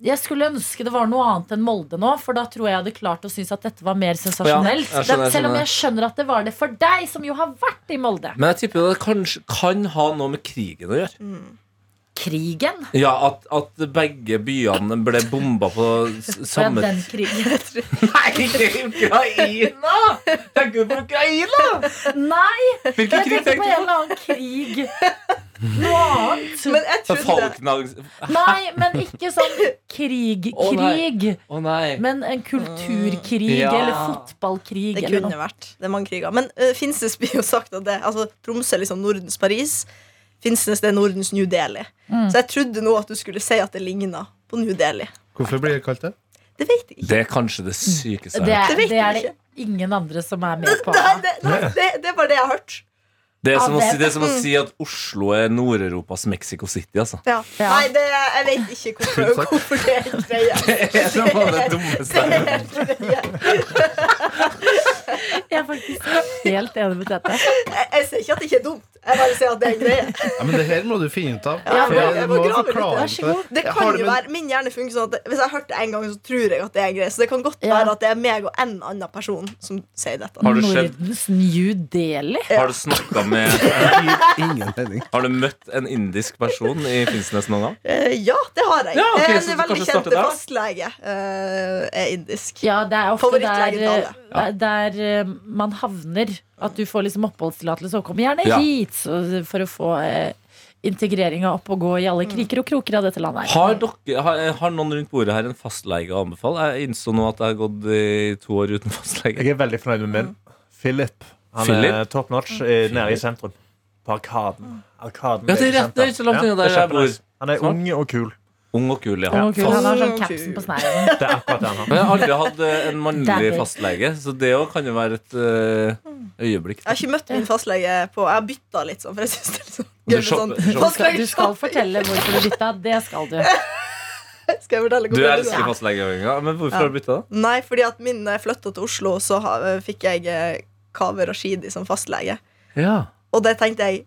Speaker 3: jeg skulle ønske det var noe annet enn Molde nå, for da tror jeg jeg hadde klart å synes at dette var mer sensasjonelt.
Speaker 2: Ja, jeg skjønner, jeg
Speaker 3: Selv om
Speaker 2: skjønner.
Speaker 3: jeg skjønner at det var det for deg, som jo har vært i Molde.
Speaker 2: Men jeg tipper det kanskje kan ha noe med krigen å gjøre.
Speaker 3: Krigen.
Speaker 2: Ja, At, at begge byene ble bomba på s- samme
Speaker 3: Ja, den krigen.
Speaker 2: Nei, Ukraina! Tenker du på Ukraina?
Speaker 3: [LAUGHS] Nei,
Speaker 2: Hvilken
Speaker 3: jeg
Speaker 2: krig
Speaker 3: tenkte
Speaker 2: tenker
Speaker 3: på
Speaker 2: du på?
Speaker 3: en eller annen krig. Noe annet.
Speaker 6: Men jeg trodde
Speaker 2: Falkenhags-
Speaker 3: Nei, men ikke
Speaker 2: Å,
Speaker 3: sånn
Speaker 2: nei.
Speaker 3: krig-krig.
Speaker 2: Å nei.
Speaker 3: Men en kulturkrig
Speaker 2: Mm, ja.
Speaker 3: eller fotballkrig.
Speaker 6: Det
Speaker 3: eller noe.
Speaker 6: kunne vært. Det er mange kriger. Men uh, Finnsnes blir jo sagt at det altså, Tromsø er liksom Nordens Paris. Finnsnes det er Nordens New Delhi.
Speaker 3: Mm.
Speaker 6: Så jeg trodde nå at du skulle si at det ligna på New Delhi.
Speaker 5: Hvorfor blir det kalt det?
Speaker 6: Det vet jeg ikke.
Speaker 2: Det er kanskje det sykeste
Speaker 3: Det,
Speaker 2: jeg har hørt.
Speaker 3: er,
Speaker 6: Det vet
Speaker 3: det er
Speaker 6: jeg
Speaker 3: det ingen andre som er med på.
Speaker 6: [LAUGHS] Nei, det, nei, det, det er bare det jeg har hørt.
Speaker 2: Det er som, å
Speaker 3: Ja, det-
Speaker 2: si, det er som å si at Oslo er Nord-Europas Mexico City, altså.
Speaker 6: Ja.
Speaker 3: Ja.
Speaker 6: Nei, det, jeg vet ikke
Speaker 5: Tusen
Speaker 6: hvorfor,
Speaker 5: takk.
Speaker 6: hvorfor det er en greie.
Speaker 2: [LAUGHS] Det
Speaker 6: [LAUGHS]
Speaker 2: er som var det dummeste jeg har hørt.
Speaker 3: Jeg er faktisk helt enig med dette.
Speaker 6: Jeg, jeg sier ikke at det ikke er dumt. Jeg bare sier at det er en greie.
Speaker 5: Ja, men det her må du finne ut av.
Speaker 6: Ja,
Speaker 5: for
Speaker 6: jeg
Speaker 5: det
Speaker 6: må- jeg må
Speaker 5: må
Speaker 6: grave litt.
Speaker 5: forklare
Speaker 3: Vær så
Speaker 5: til deg.
Speaker 3: god.
Speaker 6: Det
Speaker 5: Jeg
Speaker 6: kan
Speaker 5: har det,
Speaker 6: jo
Speaker 5: men-
Speaker 6: være, Min hjerne funker sånn at hvis jeg har hørt det en gang, så tror jeg at det er en greie. Så det kan godt
Speaker 3: Ja.
Speaker 6: være at det er meg og en annen person som sier dette.
Speaker 2: Har du sett-
Speaker 3: Nordens New Delhi.
Speaker 2: Har du snakka med
Speaker 5: Ingen mening.
Speaker 2: Har du møtt en indisk person i Finnsnes noen gang?
Speaker 6: Eh, ja, det har jeg.
Speaker 2: Ja, ok,
Speaker 6: Eh,
Speaker 2: så du
Speaker 6: en veldig
Speaker 2: kanskje starter
Speaker 6: kjent
Speaker 2: der, da?
Speaker 6: fastlege eh, er indisk.
Speaker 3: Ja, det er ofte
Speaker 6: Favorittlegen
Speaker 3: der,
Speaker 6: til alle.
Speaker 3: eh, der eh, man havner. At du får liksom oppholdstillatelse og kommer gjerne
Speaker 2: Ja.
Speaker 3: hit så, for å få eh, integreringa opp og gå i
Speaker 6: Mm.
Speaker 3: alle kriker og kroker av dette landet. her.
Speaker 2: Har, dere, har, har noen rundt bordet her en fastlege å anbefale? Jeg innså nå at jeg har gått i to år uten fastlege.
Speaker 4: Jeg er veldig fornøyd med min. Philip. Han er
Speaker 2: Philip?
Speaker 4: top notch eh, nede i sentrum. På Arkaden. Arkaden
Speaker 2: Ja, det er rett- det er ikke så langt unna der jeg bor.
Speaker 4: kjempenice. Han er
Speaker 2: Smart.
Speaker 4: ung og kul.
Speaker 2: Ung og kul, ja.
Speaker 3: Å, Gud, han har sånn
Speaker 6: Fast-
Speaker 3: capsen på sneiren.
Speaker 4: Det er akkurat det han har.
Speaker 2: Men jeg har aldri hatt eh, en mannlig
Speaker 3: Daddy.
Speaker 2: fastlege, så det òg kan jo være et eh, øyeblikk.
Speaker 6: Jeg har ikke møtt min fastlege på Jeg har bytta litt sånn, for jeg syns det er litt sånn
Speaker 2: Du
Speaker 6: gøy med
Speaker 2: shopper-
Speaker 6: sånn
Speaker 2: shopper.
Speaker 3: Du skal, du skal
Speaker 6: fastlege.
Speaker 3: fortelle hvorfor du bytta. Det skal du.
Speaker 6: [LAUGHS] Skal jeg fortelle
Speaker 2: Du
Speaker 6: hvorfor det er?
Speaker 2: elsker fastlegeordninga, men hvorfor
Speaker 6: Ja.
Speaker 2: har du bytta?
Speaker 6: Nei, fordi at min flytta til Oslo, så ha- eh, fikk jeg eh, Kaveh Rashidi som fastlege.
Speaker 2: Ja.
Speaker 6: Og det tenkte jeg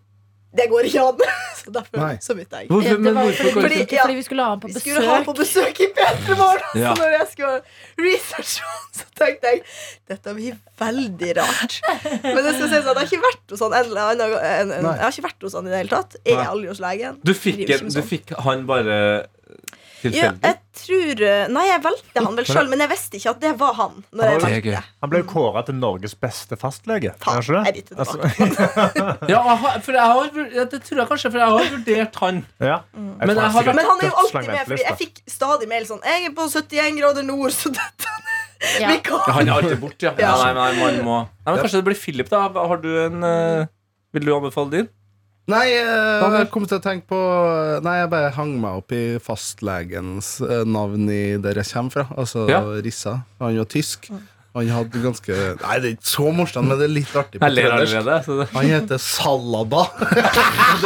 Speaker 6: Det går ikke an! [LAUGHS] Så derfor
Speaker 5: Nei.
Speaker 6: så bytta jeg.
Speaker 2: Hvorfor,
Speaker 3: Det
Speaker 2: men
Speaker 3: var
Speaker 2: hvorfor kan
Speaker 3: fordi,
Speaker 6: Fordi-
Speaker 2: ikke
Speaker 6: ja.
Speaker 3: fordi vi skulle ha han på
Speaker 6: Vi skulle ha han
Speaker 3: besøk.
Speaker 6: på besøk i P3 Morgen!
Speaker 2: Ja.
Speaker 6: Så når jeg skulle researche han, så tenkte jeg dette blir veldig rart. Men det skal sies at jeg har ikke vært hos han en eller annen, en, en,
Speaker 5: Nei.
Speaker 6: Jeg har ikke vært hos han i det hele tatt. Jeg
Speaker 5: Nei.
Speaker 6: er aldri hos legen.
Speaker 2: Du fikk,
Speaker 6: Driver ikke
Speaker 2: en,
Speaker 6: med
Speaker 2: du
Speaker 6: sånt.
Speaker 2: fikk han bare eh,
Speaker 6: Ja,
Speaker 2: tilfeldig?
Speaker 6: jeg tror Nei, jeg valgte han vel sjøl, men jeg visste ikke at det var han. Når jeg
Speaker 2: Det er
Speaker 6: valgte.
Speaker 2: gøy.
Speaker 4: Han ble jo kåra til Norges beste fastlege.
Speaker 6: Faen,
Speaker 4: er han
Speaker 6: jeg
Speaker 4: ikke
Speaker 6: bytter
Speaker 4: det? Altså, [LAUGHS]
Speaker 6: tilbake.
Speaker 2: Ja, jeg har- for jeg har, vur- ja, det tror jeg kanskje, for jeg har vurdert han.
Speaker 4: ja.
Speaker 2: Men jeg har-
Speaker 6: Men han er jo alltid med, fordi jeg fikk stadig mail sånn Jeg er på 71 grader nord, så dette
Speaker 3: Ja.
Speaker 6: vi kan
Speaker 2: Han er alltid borte, ja.
Speaker 6: Ja.
Speaker 2: Nei, nei, man må. nei, men Kanskje det blir Philip, da. Har du en eh, Vil du anbefale din?
Speaker 5: Nei, eh,
Speaker 2: Daniel?
Speaker 5: jeg kom til å tenke på Nei, jeg bare hang meg opp i fastlegens eh, navn i der jeg kommer fra, altså
Speaker 2: Ja.
Speaker 5: Rissa. Han var tysk. Han hadde ganske Nei, det er ikke så morsomt, men det er litt artig. på
Speaker 2: Jeg ler
Speaker 5: trøndersk.
Speaker 2: allerede. Så det.
Speaker 5: Han heter Salaba. [LAUGHS] det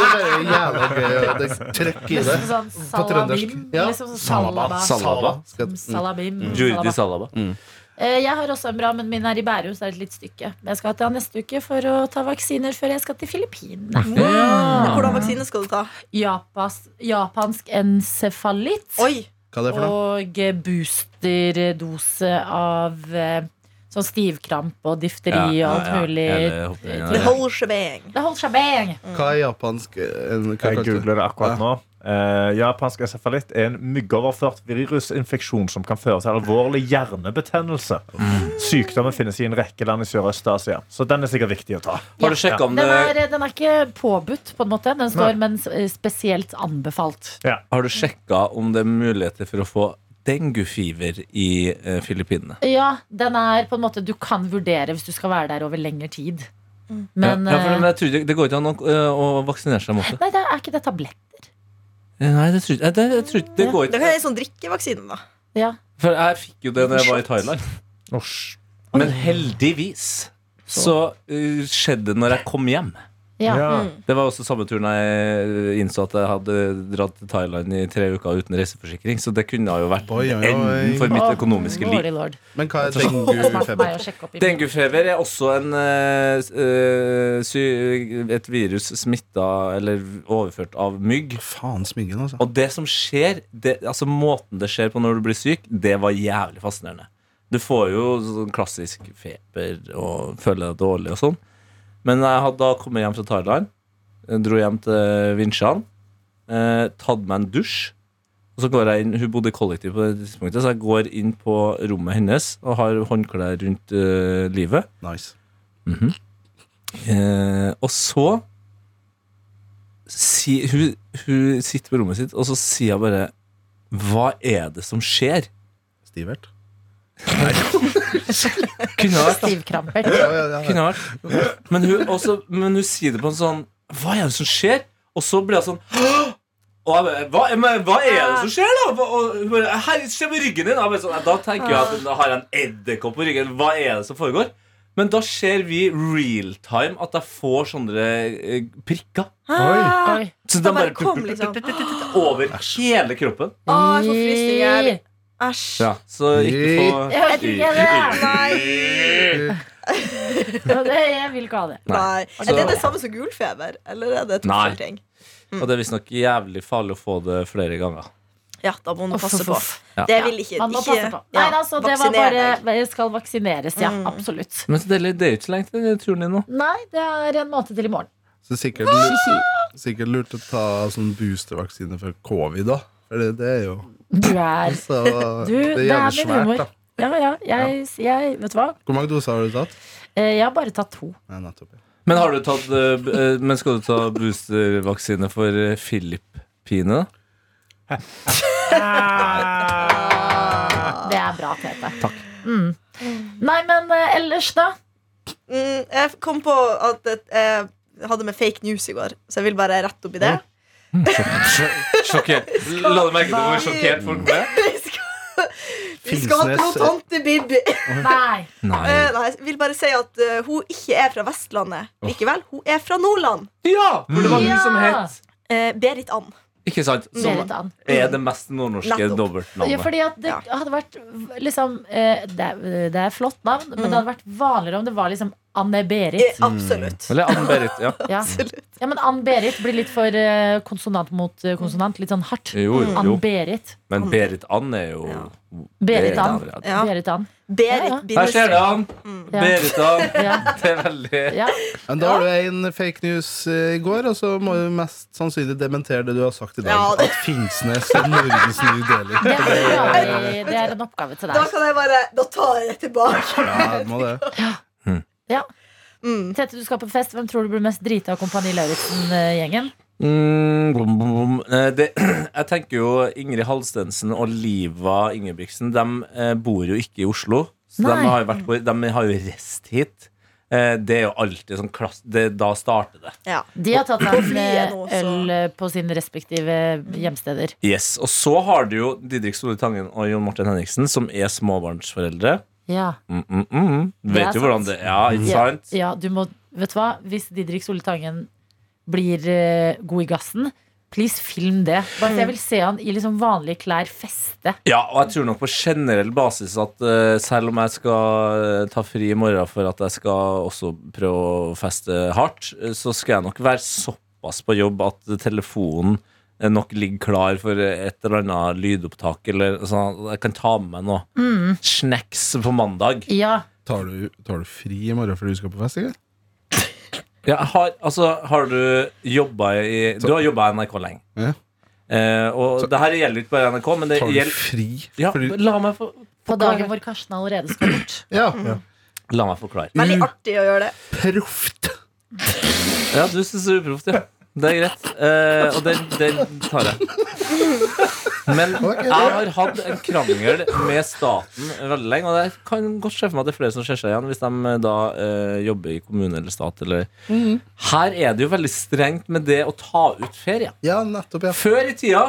Speaker 5: er bare jævla gøy. og Det er trøkk i det.
Speaker 3: Liksom sånn
Speaker 5: På trøndersk.
Speaker 3: salabim.
Speaker 5: Ja.
Speaker 3: Liksom sånn salaba.
Speaker 5: Salaba. Skal-
Speaker 3: Mm, Salabim.
Speaker 2: Jordi
Speaker 3: salaba.
Speaker 2: Salaba.
Speaker 3: Eh, Jeg har også en bra, men min er i Bærum, så det er et litt stykke. Men jeg skal til han neste uke for å ta vaksiner før jeg skal til Filippinene.
Speaker 6: Hvordan vaksine skal du ta?
Speaker 3: Japas, japansk encefalitt
Speaker 6: Oi!
Speaker 5: Hva er det for noe?
Speaker 3: og boosterdose av eh, sånn stivkramp og difteri og alt mulig.
Speaker 6: The whole shebang.
Speaker 3: Det holder seg bang!
Speaker 5: Hva er japansk eh, en, hva
Speaker 4: Jeg
Speaker 5: kalte du det?
Speaker 4: googler det akkurat nå. Eh, japansk encefalitt er en myggoverført virusinfeksjon som kan føre til alvorlig hjernebetennelse. Sykdommen finnes i en rekke land i Sørøst-Asia, så den er sikkert viktig å ta.
Speaker 2: Har du sjekka om
Speaker 3: Den
Speaker 2: det
Speaker 3: er, den er ikke påbudt, på en måte. Den står, men s- eh, spesielt anbefalt.
Speaker 2: Har du sjekka om det er muligheter for å få denguefever i eh, Filippinene?
Speaker 3: Ja, den er på en måte du kan vurdere hvis du skal være der over lengre tid.
Speaker 6: Mm.
Speaker 3: Men
Speaker 2: ja, ja, for
Speaker 3: eh,
Speaker 2: men jeg tror ikke- Det går ikke an å, eh, å vaksinere seg mot det.
Speaker 3: Nei, det er ikke det tablett.
Speaker 2: Eh, Nei, det tror jeg, det, jeg tror ikke det går
Speaker 6: Det
Speaker 2: ikke.
Speaker 6: kan være en sånn drikkevaksine, da.
Speaker 3: Ja.
Speaker 2: For jeg fikk jo det da jeg var i Thailand.
Speaker 4: Osh.
Speaker 2: Men heldigvis så eh, skjedde det når jeg kom hjem.
Speaker 3: Ja.
Speaker 4: Ja.
Speaker 2: Det var også samme turen jeg eh, innså at jeg hadde dratt til Thailand i tre uker uten reiseforsikring, så det kunne jo vært
Speaker 5: Oi, oi, oi.
Speaker 2: enden for mitt
Speaker 3: Åh,
Speaker 2: økonomiske liv.
Speaker 3: lordy lord.
Speaker 5: Men hva er
Speaker 3: Det er smart for meg
Speaker 5: denguefeber?
Speaker 3: å sjekke opp i
Speaker 2: Denguefeber er også en, eh, s- eh, sy et virus smitta eller overført av mygg.
Speaker 5: Faen smyggen, altså.
Speaker 2: Og det som skjer, det, altså måten det skjer på når du blir syk, det var jævlig fascinerende. Du får jo sånn klassisk feber og føler deg dårlig og sånn. Men jeg hadde da kommet hjem fra Thailand, eh, dro hjem til Vinsjan, eh, tatt meg en dusj. Og så går jeg inn, Hun bodde i kollektiv på det tidspunktet, så jeg går inn på rommet hennes og har håndklær rundt eh, livet.
Speaker 5: Nice.
Speaker 2: Eh, og så si, hun, hun sitter på rommet sitt, og så sier hun bare Hva er det som skjer?
Speaker 5: Stivert.
Speaker 2: Kunne ha vært, da. [LAUGHS]
Speaker 3: stivkramper.
Speaker 5: Ja, ja, ja, ja.
Speaker 2: Kunne ha vært. Men, hun, også, men hun sier det på en sånn Hva er det som skjer? Og så blir jeg sånn «Hå!» og jeg bare, hva, men, hva er det som skjer, da? Hva- Og hun bare, Herregud, se på ryggen din! Og jeg bare sånn, da tenker jeg at da har jeg en edderkopp på ryggen. Hva er det som foregår? Men da ser vi real time at jeg får sånne eh, prikker.
Speaker 6: Ah,
Speaker 3: Oi.
Speaker 2: Så
Speaker 6: Da
Speaker 2: den
Speaker 6: bare
Speaker 2: bare
Speaker 6: kom, liksom.
Speaker 2: over hele kroppen.
Speaker 6: Å, ah, jeg får frysninger. Æsj.
Speaker 2: Så ikke få
Speaker 3: Jeg vet ikke det.
Speaker 6: Nei.
Speaker 3: Ja, det. Jeg vil ikke ha det.
Speaker 6: Nei. Er det det samme som gulfeber? Eller er det to
Speaker 2: Altså- Nei.
Speaker 6: forskjellige ting?
Speaker 2: Og det er visstnok jævlig farlig å få det flere ganger.
Speaker 6: Ja, da må man
Speaker 3: Uff,
Speaker 6: passe
Speaker 3: uff,
Speaker 6: på.
Speaker 3: uff.
Speaker 2: Ja.
Speaker 6: Det vil ikke,
Speaker 3: Man må
Speaker 6: ikke
Speaker 3: passe på.
Speaker 6: ja, Mm.
Speaker 3: Nei, altså, det var
Speaker 6: vaksiner
Speaker 3: bare
Speaker 6: deg.
Speaker 3: Jeg skal vaksineres, ja. Absolutt.
Speaker 2: Men så deilig, det er jo ikke så lenge til den turen din nå.
Speaker 3: Nei, det er en måned til i morgen.
Speaker 5: Så sikkert lurt, sikkert lurt å ta sånn boostervaksine for covid, da. For det, det er jo
Speaker 3: Du er
Speaker 5: så,
Speaker 3: [LAUGHS] Du, det er min humor. Ja, ja. Jeg, jeg Vet du hva?
Speaker 5: Hvor mange doser har du tatt?
Speaker 3: Eh, Jeg har bare tatt to.
Speaker 5: Nei, nettopp. ja.
Speaker 2: Men, har du tatt, eh, b- eh, men skal du ta boostervaksine for eh, Filippinene? Ah.
Speaker 3: Det er bra, Tete. Takk. Mm. Nei, men eh, ellers, da?
Speaker 6: Mm, jeg kom på at et- jeg hadde med fake news i går, så jeg vil bare rette opp i det.
Speaker 2: Sjokkert. La du merke til hvor sjokkert folk ble?
Speaker 6: [LAUGHS] Vi skal, vi skal til noe tante Bibi.
Speaker 3: Nei.
Speaker 2: Nei.
Speaker 6: Eh, Nei, jeg vil bare si at eh, hun ikke er fra Vestlandet. Likevel, hun er fra Nordland.
Speaker 2: Ja! For det var hun
Speaker 3: Ja.
Speaker 2: som het
Speaker 6: Eh, Berit Ann.
Speaker 2: Ikke sant? Som
Speaker 3: Berit Ann.
Speaker 2: er det mest nordnorske
Speaker 6: Nettopp.
Speaker 3: Ja,
Speaker 2: dobbeltnavnet.
Speaker 3: fordi at det
Speaker 6: Ja.
Speaker 3: hadde vært liksom eh, Det er, det er flott navn, men det hadde vært vanligere om det var liksom
Speaker 6: Eh,
Speaker 3: Anne-Berit.
Speaker 6: Absolutt.
Speaker 2: Eller Ann-Berit. Mm. Ja.
Speaker 3: Ja. ja, men Ann-Berit blir litt for eh, konsonant mot eh, konsonant. Litt sånn hardt.
Speaker 2: Jo, jo, jo.
Speaker 3: Ann-Berit.
Speaker 2: Men Berit Ann er jo
Speaker 6: Ja.
Speaker 3: Berit Ann.
Speaker 2: ja.
Speaker 6: Ja.
Speaker 3: Berit Ann. Ja, ja.
Speaker 6: Berit
Speaker 2: Her ser du han!
Speaker 6: bindestrek.
Speaker 3: Ja.
Speaker 2: Berit Ann.
Speaker 3: [LAUGHS] Ja.
Speaker 2: Det er veldig
Speaker 3: Ja.
Speaker 5: Men da har du en fake news eh, i går, og så må du mest sannsynlig dementere det du har sagt i dag.
Speaker 6: Ja, det-
Speaker 5: At Finnsnes er Norges nye deler.
Speaker 3: Det, er, bra. det er en oppgave til
Speaker 6: Da
Speaker 3: deg.
Speaker 6: kan jeg bare Da tar jeg det tilbake.
Speaker 5: Ja, det må det.
Speaker 6: Mm.
Speaker 3: Tete, du skal på fest. Hvem tror du blir mest drita av Kompani Lauritzen-gjengen?
Speaker 2: Mm, bom, bom, bom. Eh, Det, [CLEARS THROAT] jeg tenker jo Ingrid Halstensen og Liva Ingebrigtsen De eh, bor jo ikke i Oslo. Så de
Speaker 3: Nei.
Speaker 2: har, jo vært på, de har jo reist hit. Eh, Det er jo alltid sånn klass, det, Da starter det.
Speaker 6: Ja.
Speaker 3: De har tatt
Speaker 6: På
Speaker 3: en
Speaker 6: flyet
Speaker 3: eh,
Speaker 6: nå, så-
Speaker 3: øl eh, på sine respektive hjemsteder.
Speaker 2: Yes, Og så har du jo Didrik Store Tangen og Jon Martin Henriksen, som er småbarnsforeldre.
Speaker 3: Ja.
Speaker 2: Mm, mm, mm.
Speaker 3: Det er
Speaker 2: Vet jo
Speaker 3: sant.
Speaker 2: hvordan det Ja, ikke
Speaker 3: Ja,
Speaker 2: sant?
Speaker 3: ja, du må Vet du hva? Hvis Didrik Soltangen blir eh, god i gassen, please film det. Bare, jeg vil se han i liksom vanlige klær feste.
Speaker 2: Ja, og jeg tror nok på generell basis at eh, selv om jeg skal eh, ta fri i morgen for at jeg skal også prøve å feste hardt, eh, så skal jeg nok være såpass på jobb at telefonen eh, nok ligger klar for et eller annet lydopptak, eller sånn at jeg kan ta med meg noe snacks på mandag.
Speaker 3: Ja.
Speaker 5: Tar du, tar du fri i morgen fordi du skal på fest? ikke?
Speaker 2: Ja, har, altså, har du jobba i Du har jobba i NRK lenge.
Speaker 5: Ja.
Speaker 2: Eh, og det her gjelder ikke bare NRK, men det
Speaker 5: Tar du
Speaker 2: gjelder
Speaker 5: fri
Speaker 2: ja,
Speaker 5: fordi
Speaker 2: la, meg få,
Speaker 3: På dagen hvor Karsten allerede skal bort.
Speaker 5: Ja,
Speaker 2: la meg forklare.
Speaker 6: Veldig artig å gjøre det.
Speaker 5: proft!
Speaker 2: Ja, du syns det er uproft, ja. Det er greit. Eh, og den, den tar jeg. Men jeg har hatt en krangel med staten veldig lenge, og jeg kan godt se for meg at det er flere som ser seg igjen hvis de da eh, jobber i kommune eller stat eller Her er det jo veldig strengt med det å ta ut ferie.
Speaker 5: Ja, nettopp, ja.
Speaker 2: Før i tida,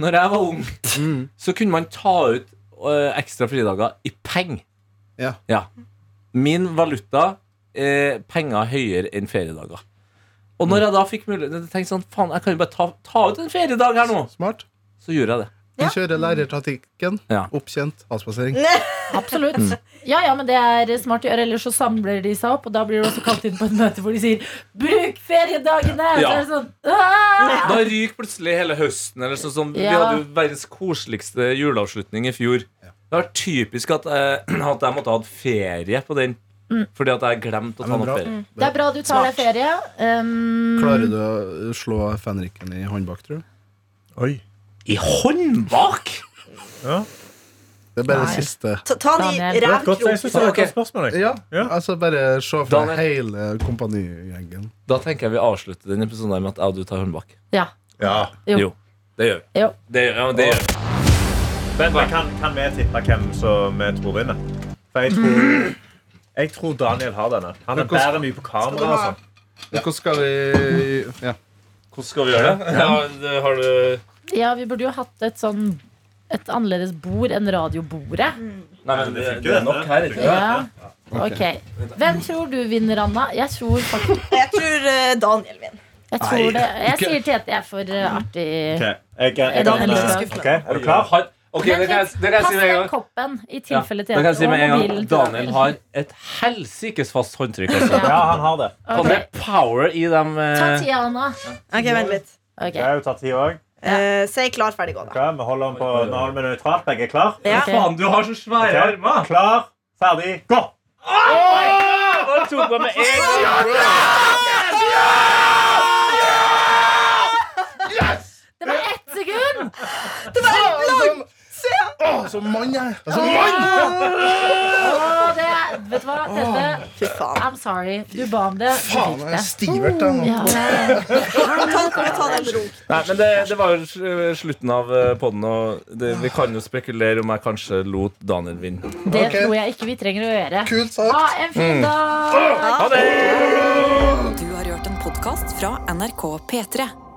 Speaker 2: når jeg var ung,
Speaker 5: Mm.
Speaker 2: så kunne man ta ut eh, ekstra fridager i penger.
Speaker 5: Ja.
Speaker 2: Min valuta eh, penger høyere enn feriedager. Og
Speaker 5: Mm.
Speaker 2: når jeg da fikk muligheten tenkte jeg sånn, faen, jeg kan jo bare ta, ta ut en feriedag her nå,
Speaker 5: Smart.
Speaker 2: så gjorde jeg det.
Speaker 5: Du kjører lærertaktikken.
Speaker 2: Ja.
Speaker 5: Oppkjent avspasering.
Speaker 3: [CLEARS THROAT] Absolutt.
Speaker 2: Mm.
Speaker 3: Ja, ja, men det er smart å gjøre, ellers så samler de seg opp, og da blir du også kalt inn på et møte hvor de sier 'bruk feriedagene'!
Speaker 2: Ja.
Speaker 3: Så er det sånn «Åh!»
Speaker 2: Da ryker plutselig hele høsten. Eller sånn, som- Vi
Speaker 3: Ja.
Speaker 2: hadde jo verdens koseligste juleavslutning i fjor. Det var typisk at, eh, [CLEARS THROAT] at jeg måtte ha hatt ferie på den, fordi at jeg glemte å ta
Speaker 5: men
Speaker 2: noe
Speaker 5: bra.
Speaker 2: ferie.
Speaker 3: Det er bra du tar deg ferie. Um,
Speaker 5: Klarer du å slå fenriken i håndbak, tror du?
Speaker 4: Oi.
Speaker 2: I håndbak?!
Speaker 5: Det er bare
Speaker 3: Nei.
Speaker 5: det siste.
Speaker 6: Ta, ta de
Speaker 3: Daniel.
Speaker 4: Det var et godt, jeg synes det var et
Speaker 2: Ok.
Speaker 4: godt spørsmål. Jeg.
Speaker 5: Ja,
Speaker 4: Ja.
Speaker 5: altså bare se for
Speaker 2: Daniel.
Speaker 5: deg hele kompanigjengen.
Speaker 2: Da tenker jeg vi avslutter denne episoden her med at jeg og du tar håndbak.
Speaker 3: ja.
Speaker 4: Ja.
Speaker 3: Jo.
Speaker 2: Det gjør vi.
Speaker 3: Jo.
Speaker 2: Det gjør, ja, men det gjør. vi.
Speaker 4: Men men kan, kan vi tippe hvem som vi tror vinner? For jeg tror, jeg tror Daniel har denne. Han er
Speaker 5: hvordan-
Speaker 4: bedre mye på kamera. og sånn.
Speaker 5: Hvordan skal vi ja.
Speaker 2: Hvordan skal vi gjøre det? Ja, det har du
Speaker 3: ja, vi burde jo hatt et sånn et annerledes bord enn radiobordet.
Speaker 2: Nei, men det, det er nok her, ikke sant?
Speaker 3: Ja. Ok. Hvem tror du vinner, Anna? Jeg tror faktisk
Speaker 6: Jeg tror eh, Daniel vinner.
Speaker 3: Jeg, tror det. jeg sier til Tete jeg er for eh, artig.
Speaker 4: Ok, jeg, jeg,
Speaker 3: Er
Speaker 4: jeg,
Speaker 3: det en liten
Speaker 4: kan-
Speaker 6: skuffelse?
Speaker 4: ok, Er du klar?
Speaker 2: Har- Ok, det
Speaker 3: Men
Speaker 2: kan jeg, det kan jeg
Speaker 3: pass
Speaker 2: si med en
Speaker 3: den
Speaker 2: gang.
Speaker 3: koppen i
Speaker 2: Ja,
Speaker 3: tilfelle
Speaker 2: det kan jeg si
Speaker 3: Tete
Speaker 2: med en
Speaker 3: og
Speaker 2: gang.
Speaker 3: mobilen til
Speaker 2: Daniel har et helsikes fast håndtrykk. Altså.
Speaker 4: Ja, han har det.
Speaker 2: Og det er power i dem
Speaker 3: Ta
Speaker 2: eh,
Speaker 3: tida, Anna.
Speaker 6: Ok, vent litt.
Speaker 3: Ok.
Speaker 4: Jeg har jo tatt tid òg.
Speaker 6: Eh, si klar, ferdig, gå, da.
Speaker 4: Vi holder den på vi holder den nøytralt. Begge er klar?
Speaker 6: Ja.
Speaker 3: Ok.
Speaker 2: Faen, du har så svære
Speaker 4: Ok.
Speaker 2: armer!
Speaker 4: Klar, ferdig, gå!
Speaker 2: Og tok meg med en gang.
Speaker 3: Det var ett sekund!
Speaker 5: Å, som mann, jeg! Som mann!
Speaker 3: Åh, det, vet du hva, Tete?
Speaker 6: Fy faen.
Speaker 3: I'm sorry. Du ba om det. Du
Speaker 5: Faen,
Speaker 3: fikk
Speaker 5: jeg
Speaker 3: det.
Speaker 5: er stivert, jeg nå.
Speaker 3: Ja, ja, ja.
Speaker 6: Kan vi ta, kan vi ta den ro?
Speaker 2: Nei, men det, det var jo sl- slutten av eh, podden, og det, vi kan jo spekulere om jeg kanskje lot Daniel vinne.
Speaker 3: Det
Speaker 5: Ok.
Speaker 3: tror jeg ikke vi trenger å gjøre.
Speaker 5: Kult Mm. sagt.
Speaker 3: Ha en fin dag!
Speaker 2: Ha det!
Speaker 1: Du har hørt en podkast fra NRK P3.